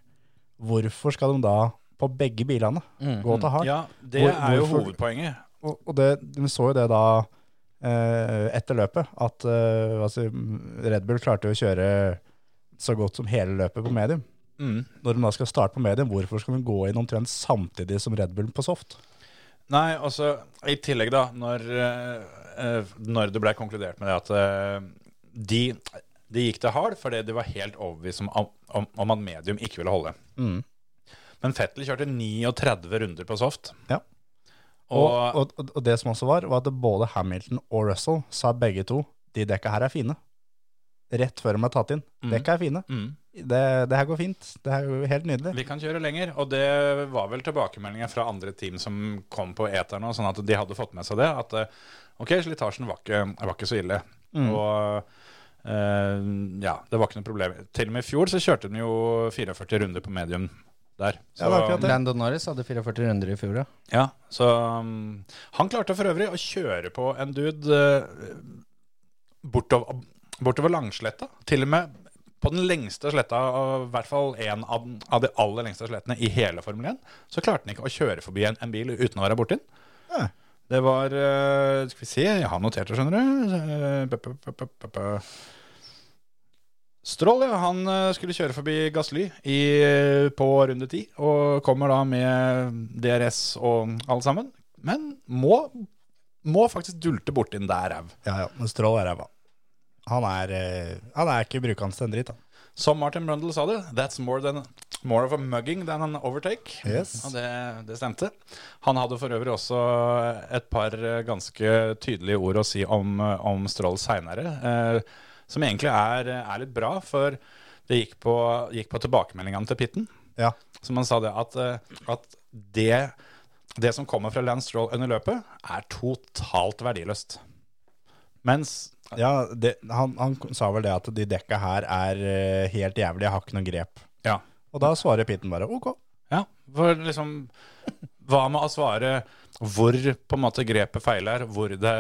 B: Hvorfor skal de da, på begge bilene, gå til hardt?
C: Mm, Ja, det
B: Hvor-
C: er jo
B: hvorfor-
C: hovedpoenget.
B: Og, og det, vi så jo det da eh, etter løpet, at eh, altså, Red Bull klarte jo å kjøre så godt som hele løpet på medium.
C: Mm.
B: Når de da skal starte på medium, hvorfor skal de gå inn omtrent samtidig som Red Bull på soft?
C: Nei, altså, i tillegg da, når, eh, eh, når det ble konkludert med det at eh, de, de gikk til hard fordi de var helt overbevist om, om, om at medium ikke ville holde. Men Fettel kjørte 39 runder på soft.
B: Ja. Og,
C: Og,
B: og, og, og det som også var, var at både Hamilton og Russell sa begge to de dekka her er fine. Rett før de ble tatt inn. Dekka er fine.
C: mm,
B: Det, det her går fint. Det her går helt nydelig.
C: vi kan kjøre lenger. Og det var vel tilbakemeldinga fra andre team som kom på eteren, og sånn at de hadde fått med seg det. At eh, ok, slitasjen var ikke, var ikke så ille.
B: Mm.
C: Og eh, ja, det var ikke noe problem. Til og med i fjor så kjørte de jo 44 runder på medium der.
B: Ja, det er akkurat det.
D: Landon Norris hadde 44 runder i fjor, ja.
C: Ja, så um, Han klarte for øvrig å kjøre på en dude eh, bortover, bortover Langsletta. Til og med på den lengste sletta, og i hvert fall en av, den- av de aller lengste slettene i hele Formel 1, så klarte han ikke å kjøre forbi en, en bil uten å være borti den.
B: Ja.
C: Det var eh, Skal vi se, jeg har notert det, skjønner du. Eh, bu- bu- bu- bu- bu- bu. Stroll, ja. Han eh, skulle kjøre forbi Gassly i, eh, på runde ti, og kommer da med DRS og alle sammen. Men må, må faktisk dulte borti den der au.
B: Ja, ja. Men Stroll er ræva. Han er, eh, han er ikke brukende til en dritt, han.
C: Som Martin Brundle sa det, that's more, than, more of a mugging than an overtake.
B: Yes.
C: Og det, det stemte. Han hadde for øvrig også et par eh, ganske tydelige ord å si om, eh, om Stroll seinere, eh, som egentlig er, er litt bra, for det gikk på, gikk på tilbakemeldingene til Pitten.
B: Ja.
C: Som han sa det, at, eh, at det, det som kommer fra Lance Stroll under løpet, er totalt verdiløst. Mens
B: Ja, det, han, han sa vel det at de dekka her er eh, helt jævlig, jeg har ikke noen grep.
C: Ja.
B: Og da svarer Pitten bare ok.
C: ja for liksom Hva med å svare hvor på en måte grepet feiler, hvor det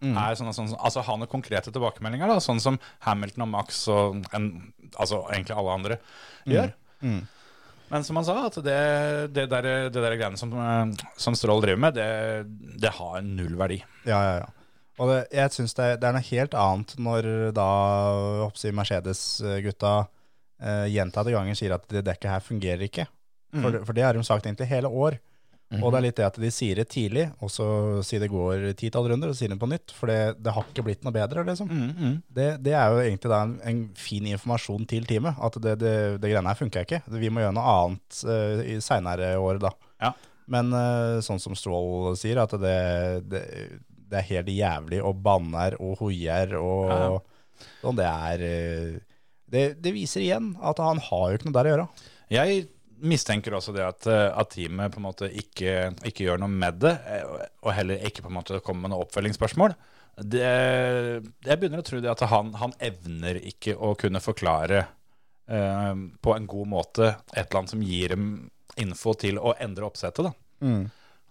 C: er sånn, sånn, Altså ha noen konkrete tilbakemeldinger, da, sånn som Hamilton og Max og en, altså egentlig alle andre gjør. Men som han sa, at det, det, der, det der greiene som, eh, som Stroll driver med, det, det har null verdi.
B: Ja, ja, ja. Og det, jeg syns det, er- det er noe helt annet når da hoppsi, Mercedes-gutta eh, gjentatte ganger sier at det dekket her fungerer ikke. For, det- for det har de sagt egentlig hele år. Og det er litt det at de sier det tidlig, og så sier det går titall runder, og så sier de på nytt. For det, det har ikke blitt noe bedre, liksom. Det, det er jo egentlig da en, en fin informasjon til teamet. At det, det, det greiene her funker ikke. Vi må gjøre noe annet uh, i seinere år, da.
C: Ja.
B: Men eh, sånn som Strål sier, at det, det, det er helt jævlig og banner og hoier og sånn. Det er eh, det, det viser igjen at han har jo ikke noe der å gjøre.
C: Jeg mistenker også det at, eh, at teamet på en måte ikke, ikke gjør noe med det, eh, og heller ikke på en måte kommer med noen oppfølgingsspørsmål. Det, jeg begynner å tro det at han, han evner ikke å kunne forklare eh, på en god måte et eller annet som gir dem info til å endre oppsettet. da. At,
B: Mm.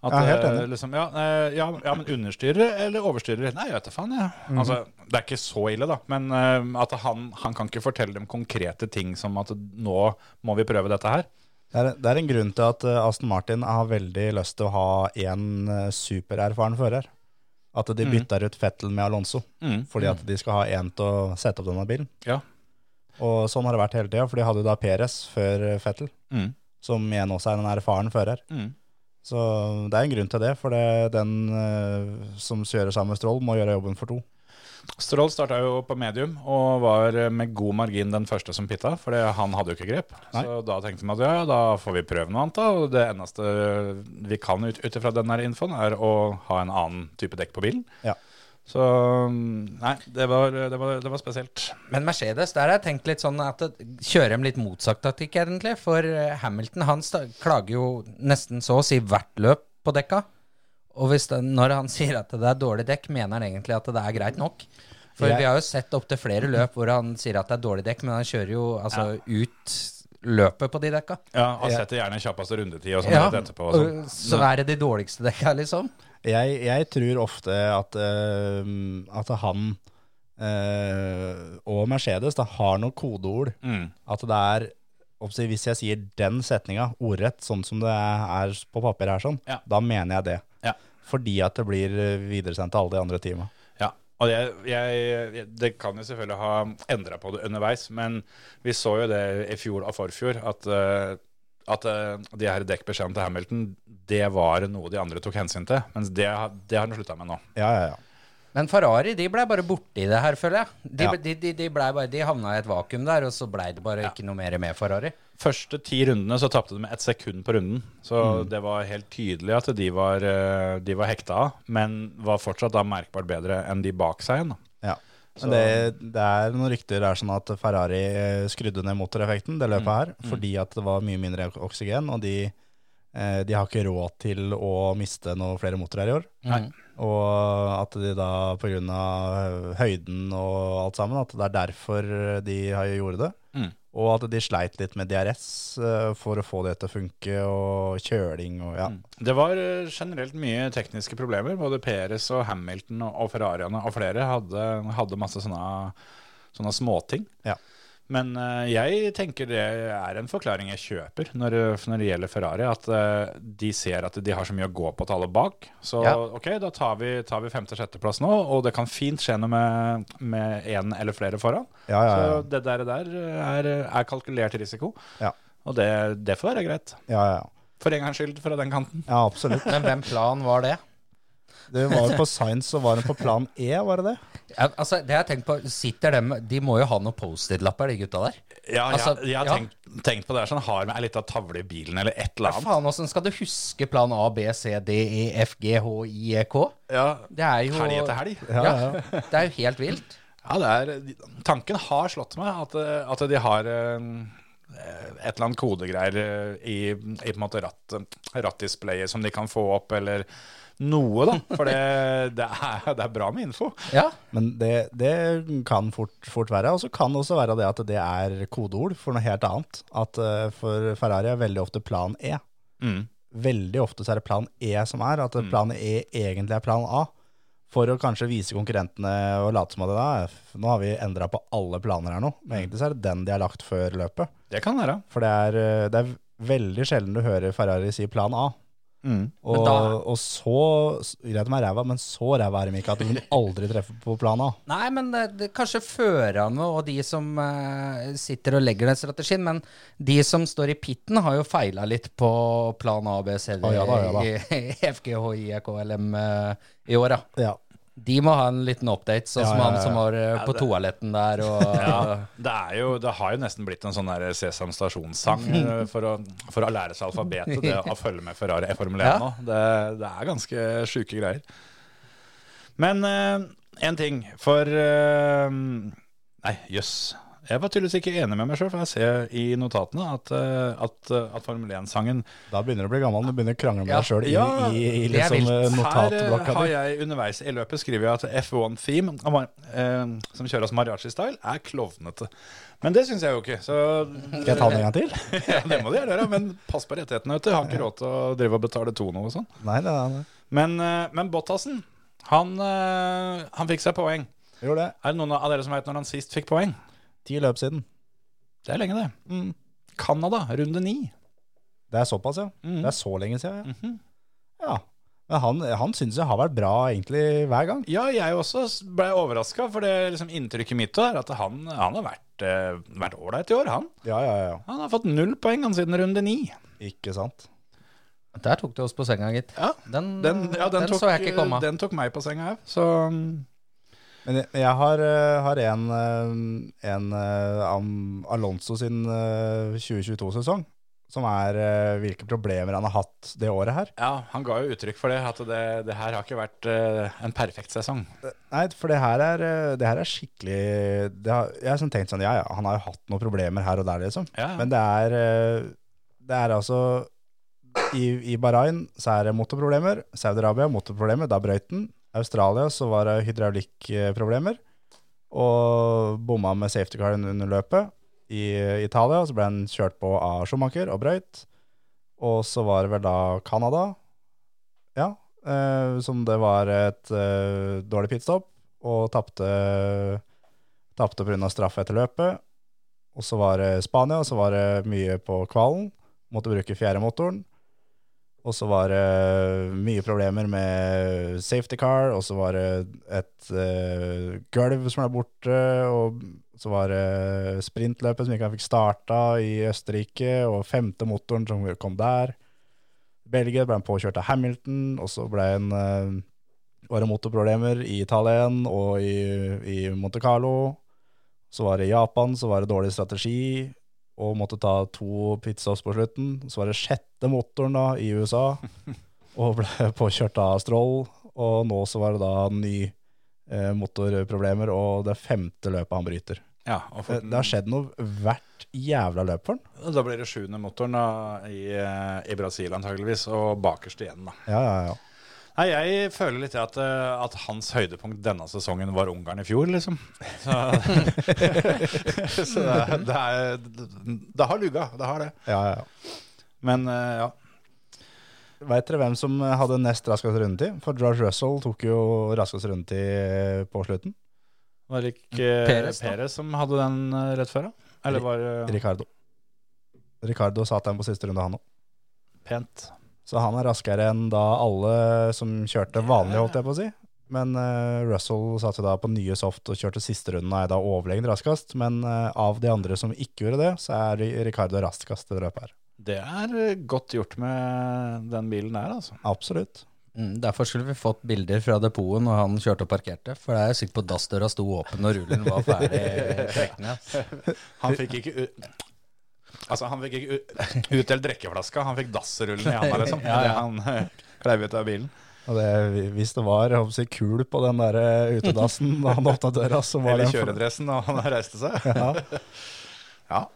B: Jeg er helt
C: eh,
B: enig.
C: Liksom, ja, eh, ja, ja, men understyrer eller overstyrer? Nei, jeg vet da faen. Ja.
B: Mm.
C: Altså, det er ikke så ille, da. Men eh, at han, han kan ikke fortelle dem konkrete ting som at nå må vi prøve dette her.
B: Det er, det er en grunn til at eh, Aston Martin har veldig lyst til å ha én eh, supererfaren fører. At de bytter ut Fettel med Alonso,
C: Mm.
B: fordi at de skal ha én til å sette opp denne bilen.
C: Ja.
B: Og sånn har det vært hele tida, for de hadde jo da Perez før eh, Fettel,
C: Mm.
B: som igjen også er en erfaren fører.
C: Mm.
B: Så det er en grunn til det, for det, den eh, som kjører sammen med Stroll, må gjøre jobben for to.
C: Stroll starta jo på medium og var eh, med god margin den første som pitta, for det- han hadde jo ikke grep.
B: Nei.
C: Så da tenkte man at ja, ja, da får vi prøve noe annet, da. Og det eneste vi kan ut ut ifra den her infoen, er å ha en annen type dekk på bilen.
B: Ja.
C: Så mm, nei, det var, det var, det var spesielt.
D: Men Mercedes, der har jeg tenkt litt sånn at det- kjører dem litt motsatt taktikk, egentlig. For eh, Hamilton han sta- klager jo nesten så å si hvert løp på dekka. Og hvis det, når han (laughs) sier at det er dårlig dekk, mener han egentlig at det er greit nok. For
B: Jeg-
D: vi har jo sett opptil flere løp hvor han sier at det er dårlig dekk, men han kjører jo altså ut løpet på de dekka.
C: Ja, Han
B: Ja.
C: setter gjerne kjappeste rundetid og sånn
D: Ja,
C: rett etterpå. Og sånn.
D: og så er det de dårligste dekka, liksom.
B: Jeg, jeg tror ofte at, eh, at han eh, og Mercedes da, har noen kodeord.
C: Mm.
B: At det er oppsi- Hvis jeg sier den setninga ordrett, sånn som det er på papir her, sånn,
C: Ja.
B: da mener jeg det.
C: Ja.
B: Fordi at det blir eh, videresendt til alle de andre teama.
C: Ja, og jeg, jeg, det kan jo selvfølgelig ha endra på det underveis, men vi så jo det i fjor og forfjor, at, eh, at eh, de her dekkbeskjedene til Hamilton, det var noe de andre tok hensyn til, mens det, har- det har de slutta med nå.
B: Ja, ja, ja.
D: Men Ferrari de blei bare borti det her, føler jeg. De,
B: Ja.
D: de, de, de, ble bare, de havna i et vakuum der, og så blei det bare ikke noe mer med Ferrari.
C: Første ti rundene så tapte de med ett sekund på runden, så det var helt tydelig at de var, eh, de var hekta av, men var fortsatt da merkbart bedre enn de bak seg igjen. da.
B: ja. Men
C: Så-
B: det, det er noen rykter det er sånn at Ferrari eh, skrudde ned motoreffekten det
C: Mm.
B: løpet her, fordi at det var mye mindre ok- oksygen, og de, eh, de har ikke råd til å miste noen flere motorer i år.
D: Nei.
B: Og at de da på grunn av eh, høyden og alt sammen, at det er derfor de har gjort det.
C: Mm.
B: Og at de sleit litt med DRS eh, for å få det til å funke, og kjøling og ja.
C: Det var eh, generelt mye tekniske problemer. Både Peres og Hamilton og og Ferrariene og flere hadde, hadde masse sånne, sånne småting.
B: Ja.
C: Men eh, jeg tenker det er en forklaring jeg kjøper når, når det gjelder Ferrari. At eh, de ser at de har så mye å gå på til alle bak. Så
D: Ja.
C: ok, da tar vi, tar vi femte-sjetteplass nå, og det kan fint skje noe med- med én eller flere foran.
B: Ja, ja, ja.
C: Så det der, der eh, er, er kalkulert risiko.
B: Ja.
C: Og det, det får være greit.
B: ja, ja.
C: For en gangs skyld fra den kanten.
B: ja absolutt.
D: Men hvem plan var det?
B: Det var jo på Science, så var det på plan E, var det det?
D: Ja, altså, det jeg har tenkt på, sitter dem De må jo ha noen Post-It-lapper, de gutta der.
C: Ja,
D: Altså,
C: jeg, jeg har
D: ja.
C: tenkt, tenkt på det her sånn, har med ei lita tavle i bilen eller et eller annet.
D: Faen, åssen skal du huske plan A, B, C, D, E, F, G, H, I, E, K?
C: Ja,
D: Det er jo
C: Helg etter helg.
D: Ja, Det er jo helt vilt.
C: Ja, det er, tanken har slått meg at, eh, at de har eh, et eller annet kodegreier eh, i, i på en måte ratt, rattdisplayet som de kan få opp, eller noe, da. For det, det, (laughs) er, det er bra med info.
D: Ja.
B: Men det, det kan fort, fort være. Og så kan det også være det at det er kodeord for noe helt annet. At eh, for Ferrari er veldig ofte plan E.
C: Mm.
B: veldig ofte så er det plan E som er, at plan E egentlig er plan A. For å kanskje vise konkurrentene og late som at det er, nå har vi endra på alle planer her nå. Men egentlig så er det den de har lagt før løpet.
C: Det kan være.
B: For det er, eh, det er veldig sjelden du hører Ferrari si plan A. Og,
D: da-
B: og så Greit med ræva, men så ræva er de ikke at de aldri treffer på planen.
D: Nei, men det, det, kanskje førerne og de som eh, sitter og legger den strategien, men de som står i pitten, har jo feila litt på plan A, B, C, D,
B: Å, ja da, ja da.
D: E, F, G, H, I, E, K, L, M eh, i år, ja.
B: Ja.
D: De må ha en liten update, sånn
B: Ja,
D: som
B: ja,
D: han
B: ja.
D: som var eh, på toaletten der.
C: (laughs)
D: Og,
C: Det, er jo, det har jo nesten blitt en sånn der Sesam Stasjon-sang eh, for, å- for å lære seg alfabetet. Det å følge med Ferrari i Formel 1
D: Ja.
C: nå. Det, det er ganske sjuke greier. Men én ting, for eh, Nei, jøss. Jeg var tydeligvis ikke enig med meg sjøl, for jeg ser i notatene at, eh, at, eh, at Formel 1-sangen
B: Da begynner du å bli gammel, du begynner å krangle med
D: Ja.
B: deg sjøl
C: Ja,
B: i, i, i
D: det er
B: liksom,
D: vilt.
B: eh,
C: Her eh,
B: notatblokka
C: har
B: di.
C: jeg underveis i løpet skriver jeg at F1 Theme, ama- eh, som kjøres mariachi-style, er klovnete. Men det syns jeg jo ikke. Så
B: Skal jeg ta den en gang til?
C: ja, det må de gjøre, da, men pass på rettighetene. vet du. Har ikke råd til å drive og betale tono og sånn.
B: Nei, nei, nei.
C: Men, eh, men Bottasen, han, eh, han fikk seg poeng.
B: nei. Gjorde det.
C: Er det noen av dere som veit når han sist fikk poeng?
B: Ti løp siden.
C: Det er lenge, det. Canada, runde ni.
B: Det er såpass, ja.
C: Mm.
B: Det er så lenge siden.
C: Mhm.
B: Ja. ja. Men han, han syns jeg har vært bra egentlig hver gang.
C: Ja, jeg også ble overraska, for det liksom, inntrykket mitt er at han, han har vært eh, vært ålreit i år, han.
B: Ja, ja, ja.
C: Han har fått null poeng han siden runde ni.
B: Ikke sant.
D: Der tok du oss på senga, gitt.
C: Ja,
D: Den,
C: Den, ja, Mm, den, tok,
D: så jeg ikke komme.
C: Den tok meg på senga òg, så mm.
B: Men jeg, jeg har, eh, har en, eh, en eh, Am- Alonso sin 2022-sesong, som er eh, hvilke problemer han har hatt det året her.
C: Ja, han ga jo uttrykk for det, at det, det her har ikke vært eh, en perfekt sesong.
B: Nei, for det her er, eh, det her er skikkelig det har, Jeg har sånn tenkt sånn, ja ja, han har jo hatt noen problemer her og der, liksom.
C: Ja,
B: Men det er eh, Det er altså I, i Bahrain så er det motorproblemer. Saudi-Arabia motorproblemer, da brøyt den. Australia så var det hydraulikkproblemer. Og bomma med safety car under løpet. I eh, Italia så ble han kjørt på av Schumacher og brøyt. Og så var det vel da Canada, ja, eh, som det var et eh, dårlig pitstop, og tapte Tapte pga. straff etter løpet. Og så var det Spania, og så var det mye på kvalen. Måtte bruke fjerde motoren. Og så var det mye problemer med safety car, og så var det et eh, gulv som ble borte, og så var det sprintløpet som ikke han fikk starta i Østerrike, og femte motoren som kom der. Belgia ble han påkjørt av Hamilton, og så ble han eh, var det motorproblemer i Italia igjen, og i, i Monte Carlo. Så var det Japan, så var det dårlig strategi, og måtte ta to pizzaost på slutten. Så var det sjette motoren da, i USA, (laughs) og ble påkjørt av Stroll. Og nå så var det da ny eh, motorproblemer, og det femte løpet han bryter. Eh,
C: ja og
B: Det,
C: for,
B: det har skjedd noe hvert jævla løp for han.
C: Da blir det sjuende motoren da, i, eh, i Brasil antageligvis, og bakerst igjen, da.
B: Ja, ja, ja.
C: Nei, jeg føler litt at, eh, at hans høydepunkt denne sesongen var Ungarn i fjor, (laughs) liksom. Så, så det, er- det, er, det, det har lugga, det har det.
B: ja, ja, ja.
C: Men eh, ja.
B: Veit dere hvem som hadde nest raskest rundetid? For George Russell tok jo raskest rundetid eh, på slutten.
C: Var det ikke eh,
D: Perez, da?
C: Perez som hadde den eh, rett før, da? Eller var det
B: Ricardo. Ricardo satt den på siste runde, han òg.
C: pent?
B: Så han er raskere enn da alle som kjørte vanlig, holdt jeg på å si. Men eh, Russell satt jo da på nye soft og kjørte siste runden og er da overlegent raskest. Men eh, av de andre som ikke gjorde det, så er Ri- Ricardo raskest i det løpet her.
C: Det er eh, godt gjort med den bilen der, altså.
B: Absolutt.
D: Mm, Derfor skulle vi fått bilder fra depotet når han kjørte og parkerte. For det er jeg sikker på dassdøra sto åpen når rullen var ferdig
C: (laughs)
D: trekkende. ass.
C: Han fikk ikke u- Altså, han fikk ikke u- utdelt drikkeflaska, han fikk dassrullen i handa, liksom.
D: Ja, ja.
C: Det han eh, kleiv ut av bilen.
B: Og det, hvis det var jeg håper å si, kul på den der eh, utedassen da han åpna døra, så var
C: Eller
B: det
C: kjøredressen da han reiste seg.
B: Ja.
C: (laughs) Ja.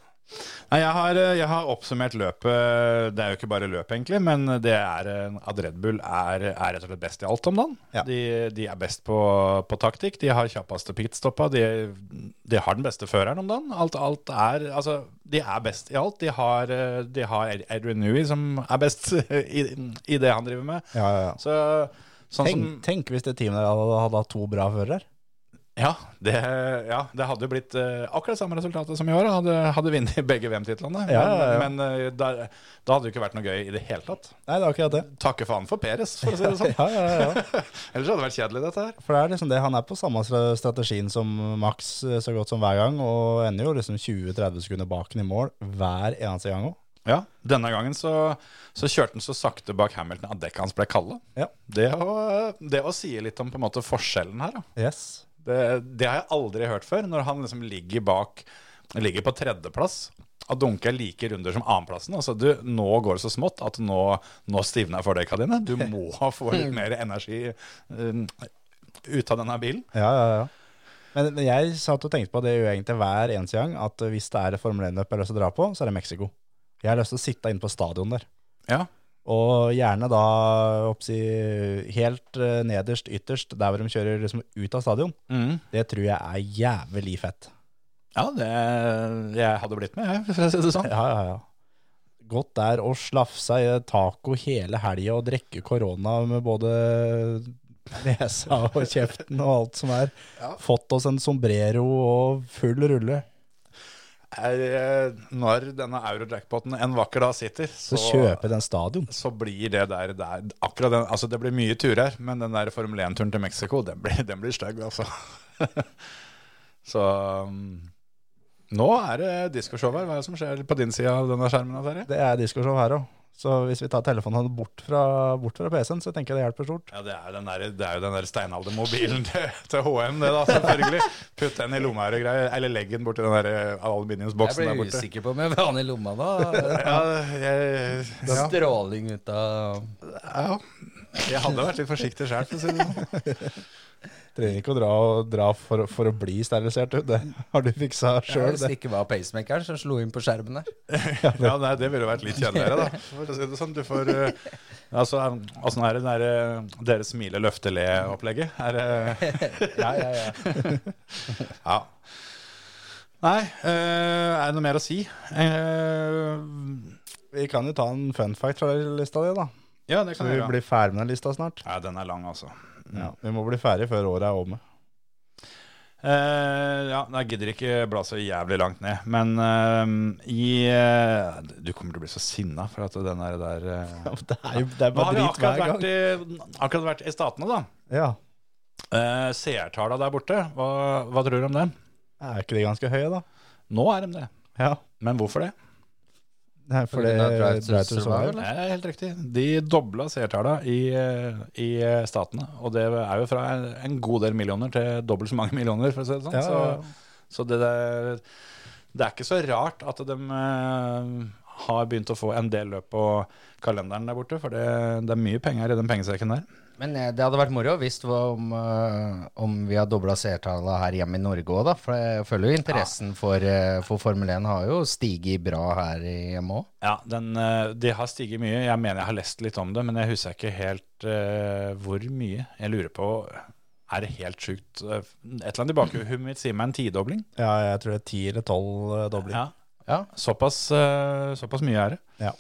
C: Nei, jeg har, eh, jeg har oppsummert løpet. Det er jo ikke bare løp, egentlig, men det er eh, at Red Bull er, er rett og slett best i alt om dagen.
B: Ja.
C: De, de er best på, på taktikk, de har kjappeste pitstoppa, de, de har den beste føreren om dagen. Alt, alt er, altså, de er best i alt. De har, eh, de har Adrian Newey som er best (laughs) i, i det han driver med.
B: Ja, ja, ja.
C: Så, sånn
B: Tenk, tenk hvis det teamet der hadde, hadde hatt to bra førere.
C: Ja, det, ja, det hadde jo blitt eh, akkurat samme resultatet som i år. Hadde, hadde vunnet (laughs) begge VM-titlene.
B: Ja, ja, ja.
C: Men, men eh, der, da hadde det ikke vært noe gøy i det hele tatt.
B: Nei, det er akkurat det.
C: Takke faen for Peres, for å si det sånn.
B: (laughs) Ja, ja, ja, ja.
C: (laughs) Ellers hadde det vært kjedelig, dette her.
B: For det er liksom det, han er på samme stra- strategien som Max eh, så godt som hver gang, og ender jo liksom 20-30 sekunder bak han i mål hver eneste gang òg.
C: Ja, Denne gangen så, så kjørte han så sakte bak Hamilton at dekka hans ble kalde.
B: Ja.
C: Det, å- det å si litt om på en måte forskjellen her, da.
B: Yes.
C: Det, det har jeg aldri hørt før, når han liksom ligger bak Ligger på tredjeplass og dunker like runder som annenplassen. Altså, du, nå går det så smått at nå, nå stivner fordekka dine. Du
B: (laughs)
C: må få litt mer energi um, ut av denne bilen.
B: Ja, ja, ja. Men, men jeg satt og tenkte på det jo egentlig hver eneste gang, at hvis det er et Formel 1-løp jeg har lyst til å dra på, så er det Mexico. Jeg har lyst til å sitte inne på stadion der.
C: Ja.
B: Og gjerne da oppsi, helt eh, nederst, ytterst, der hvor de kjører liksom ut av stadion. Det tror jeg er jævlig fett.
C: Mm. Ja, det Jeg hadde blitt med, jeg, for å si det sånn.
B: Ja, ja, ja. Gått der og slafsa i taco hele helga og drikke korona med både nesa og kjeften og alt som er. Fått oss en sombrero og full rulle.
C: Er, eh, når denne euro-jackpoten en vakker dag sitter,
B: Så kjøpe den stadion.
C: så blir det der, der akkurat den, altså Det blir mye turer, men den der Formel 1-turen til Mexico, den blir, den blir stygg, altså. (laughs) så um, nå er det diskoshow her. Hva er det som skjer på din side av denne skjermen? da, Terje?
B: Det er diskoshow her òg. Så hvis vi tar telefonen bort fra, bort fra PC-en, så tenker jeg det hjelper stort.
C: Ja, det er, jo den der, det er jo den der steinaldermobilen (laughs) til, til HM, (laughs) det da, selvfølgelig. Putt den i lomma her og greier, eller legg den borti den der eh,
D: Jeg
C: aluminiumsboksen der
D: blir
C: borte.
D: usikker på om jeg vil ha den i lomma da.
C: Ja, jeg, ja.
D: Stråling ut av
C: ja. Jeg hadde vært litt forsiktig sjøl, for å si det sånn.
B: (laughs) Trenger ikke å dra, dra for, for å bli sterilisert ut. Det har du fiksa sjøl.
D: Sjøl det ikke var pacemakeren som slo inn på skjermen der.
C: Ja, nei, det ville vært litt kjedeligere,
B: (laughs)
C: da. For å si det sånn, du får eh, Altså, um, åssen er det der eh, dere smile, løfte, le-opplegget?
B: (laughs)
C: Er det
D: Ja, ja, ja.
C: Ja. Nei, eh, er det noe mer å si? Eh,
B: Vi kan jo ta en fun fact fra lista di, da.
C: ja, det
B: Så
C: kan
B: vi
C: vi gjøre.
B: blir ferdig med den lista snart.
C: Ja, den er lang, altså.
D: Mm.
B: Ja, vi må bli ferdig før året er omme. (laughs)
C: Eh, ja, nei, jeg gidder ikke bla så jævlig langt ned. Men eh, i eh, Du kommer til å bli så sinna for at den der, der (laughs) eh.
B: Det er jo det er
C: Nå
B: bare
C: har vi
B: drit
C: akkurat
B: hver gang.
C: vært, i, akkurat vært i Statene, da.
B: Ja,
C: Eh, Seertalla der borte, hva, hva tror du om det?
B: Er ikke de ganske høye, da?
C: Nå er de det.
B: Ja.
C: Men hvorfor det?
B: Nei, for det
D: grunn av Drive to
B: Drive to
D: Survive,
B: Survive.
D: eller?
C: Det er helt riktig. De dobla seertallene i, eh, i eh, statene. Og det er jo fra en- en god del millioner til dobbelt så mange millioner, for å si det sånn.
B: Ja, ja, ja.
C: Så, så det, der, det er ikke så rart at de eh, har begynt å få en del løp på kalenderen der borte, for det, det er mye penger i den pengesekken der.
D: Men eh, det hadde vært moro hvis det var om, eh, om vi har dobla seertallene her hjemme i Norge òg, da. For jeg føler jo interessen for, eh, for Formel 1 har jo stiget bra her i- hjemme òg.
C: Ja, den, eh, det har stiget mye. Jeg mener jeg har lest litt om det, men jeg husker ikke helt eh, hvor mye. Jeg lurer på er det helt sjukt? Eh, Et eller annet i bakhuet mitt sier meg en tidobling.
B: Ja, jeg tror det er ti eller tolv eh, dobling.
C: Ja.
D: Ja.
C: Såpass, eh, såpass mye er det.
B: Ja.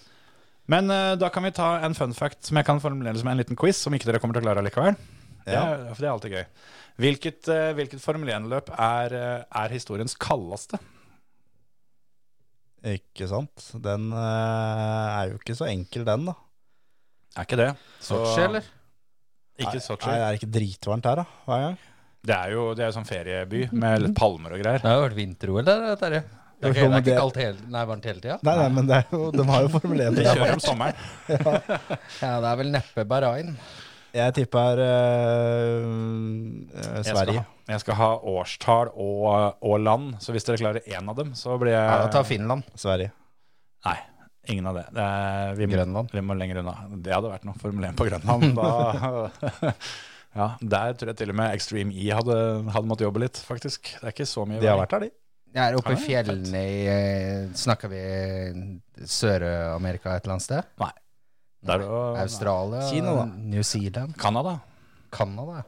C: Men eh, da kan vi ta en fun fact som jeg kan formulere som en liten quiz, som ikke dere kommer til å klare likevel. Det
B: Ja.
C: er, for det er alltid gøy. Hvilket, eh, hvilket Formel 1-løp er, eh, er historiens kaldeste?
B: Ikke sant? Den eh, er jo ikke så enkel, den, da.
C: Er ikke det? Så-
D: Sotsji, eller?
C: Ikke
B: Nei,
C: Sotsji.
B: er det ikke dritvarmt her, da? Hver gang?
C: Det er jo det er jo sånn ferieby med litt palmer og greier.
D: Det har jo vært vinter-OL der, det, Terje. Det er
B: Jo,
D: ikke, det
B: men
D: er ikke
B: det-
D: kaldt hele, nei, varmt hele tida.
B: Nei, nei, men det er jo, de har jo sånn. Formel
C: (laughs)
B: 1.
C: De
B: der.
C: kjører om sommeren.
D: Ja, det er vel neppe Bahrain.
B: Jeg tipper eh, eh,
C: Jeg skal,
B: Sverige.
C: ha, jeg skal ha årstall og, og land, så hvis dere klarer én av dem, så blir
D: Ja,
C: jeg
D: ta Finland.
B: Sverige.
C: Nei, ingen av det. det er, vi, må,
D: Grønland.
C: vi må lenger unna. Det hadde vært noe Formel 1 på
B: (laughs)
C: Grønland. Da, (laughs) ja, der tror jeg til og med Extreme E hadde, hadde måttet jobbe litt, faktisk. Det er ikke så mye
B: De har
C: vei.
B: vært her, de.
D: Jeg er oppe
C: Ja,
D: i fjellene i eh, Snakker vi Sør-Amerika et eller annet sted?
C: Nei. Der, og,
D: Australia?
B: Kina, da.
D: New Zealand?
C: Canada,
D: Canada?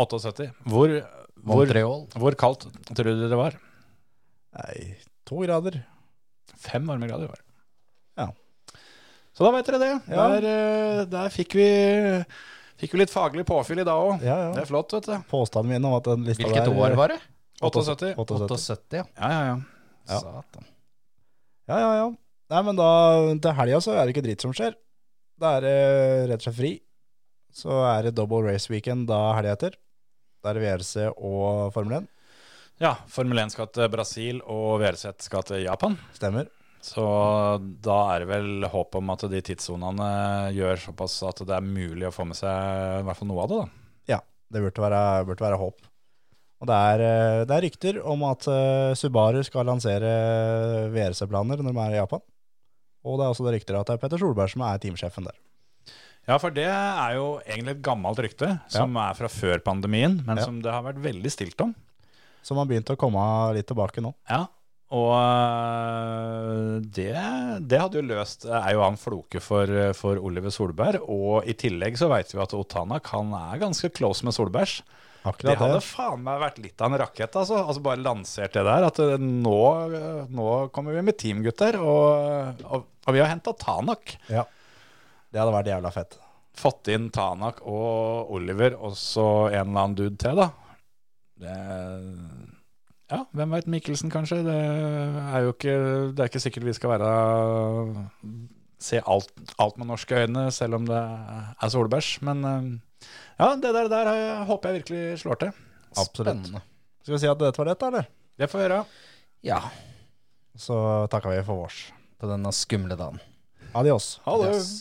C: 78. Hvor, hvor,
D: Montreal?
C: hvor kaldt tror du det var?
B: Nei, to grader.
C: Fem varmegrader var det.
B: Ja.
C: Så da vet dere det.
B: Ja.
C: Der, eh, der fikk vi Fikk jo litt faglig påfyll i dag òg.
B: Ja, ja.
C: Det er flott, vet du.
B: Påstanden min om at den lista
D: Hvilket
B: der
D: år var det?
C: 78.
B: 78.
D: 78, ja.
C: Ja, ja, ja.
B: Ja.
D: Satan.
B: Ja, ja, ja. Nei, men da til helga så er det ikke dritt som skjer. Da er det eh, rett og slett fri. Så er det double race weekend da helga etter. Da er det VRC og Formel 1.
C: Ja, Formel 1 skal til Brasil, og VRZ skal til Japan.
B: Stemmer.
C: Så da er det vel håp om at de tidssonene gjør såpass at det er mulig å få med seg i hvert fall noe av det, da.
B: Det burde være, burde være håp. Og det er, eh, det er rykter om at eh, Subaru skal lansere eh, VRC-planer når de er i Japan. Og det er også det rykter at det er Petter Solberg som er teamsjefen der.
C: Ja, for det er jo egentlig et gammelt rykte som er fra før pandemien, men
B: Ja.
C: som det har vært veldig stilt om.
B: Som har begynt å komme litt tilbake nå.
C: Ja, og øh, det, det hadde jo løst er jo han floke for, for Oliver Solberg. Og i tillegg så veit vi at Otanak han er ganske close med Solbergs. Det
B: Akkurat det.
C: hadde faen meg vært litt av en rakett, altså. altså bare lansert det der. At øh, nå, øh, nå kommer vi med team, gutter. Og, og, og vi har henta Tanak.
B: Ja. det hadde vært jævla fett.
C: Fått inn Tanak og Oliver og så en eller annen dude til, da. Det Ja, hvem veit. Mikkelsen, kanskje. Det er jo ikke, det er ikke sikkert vi skal være Se alt, alt med norske øyne, selv om det er solbæsj. Men eh, ja, det der, der eh, håper jeg virkelig slår til.
B: Absolutt.
D: Spennende.
B: Skal vi si at dette var dette, eller?
C: Det får vi gjøre.
D: Ja,
B: Så takker vi for vårs.
D: på denne skumle dagen.
B: Adios.
C: Ha det.
D: Yes.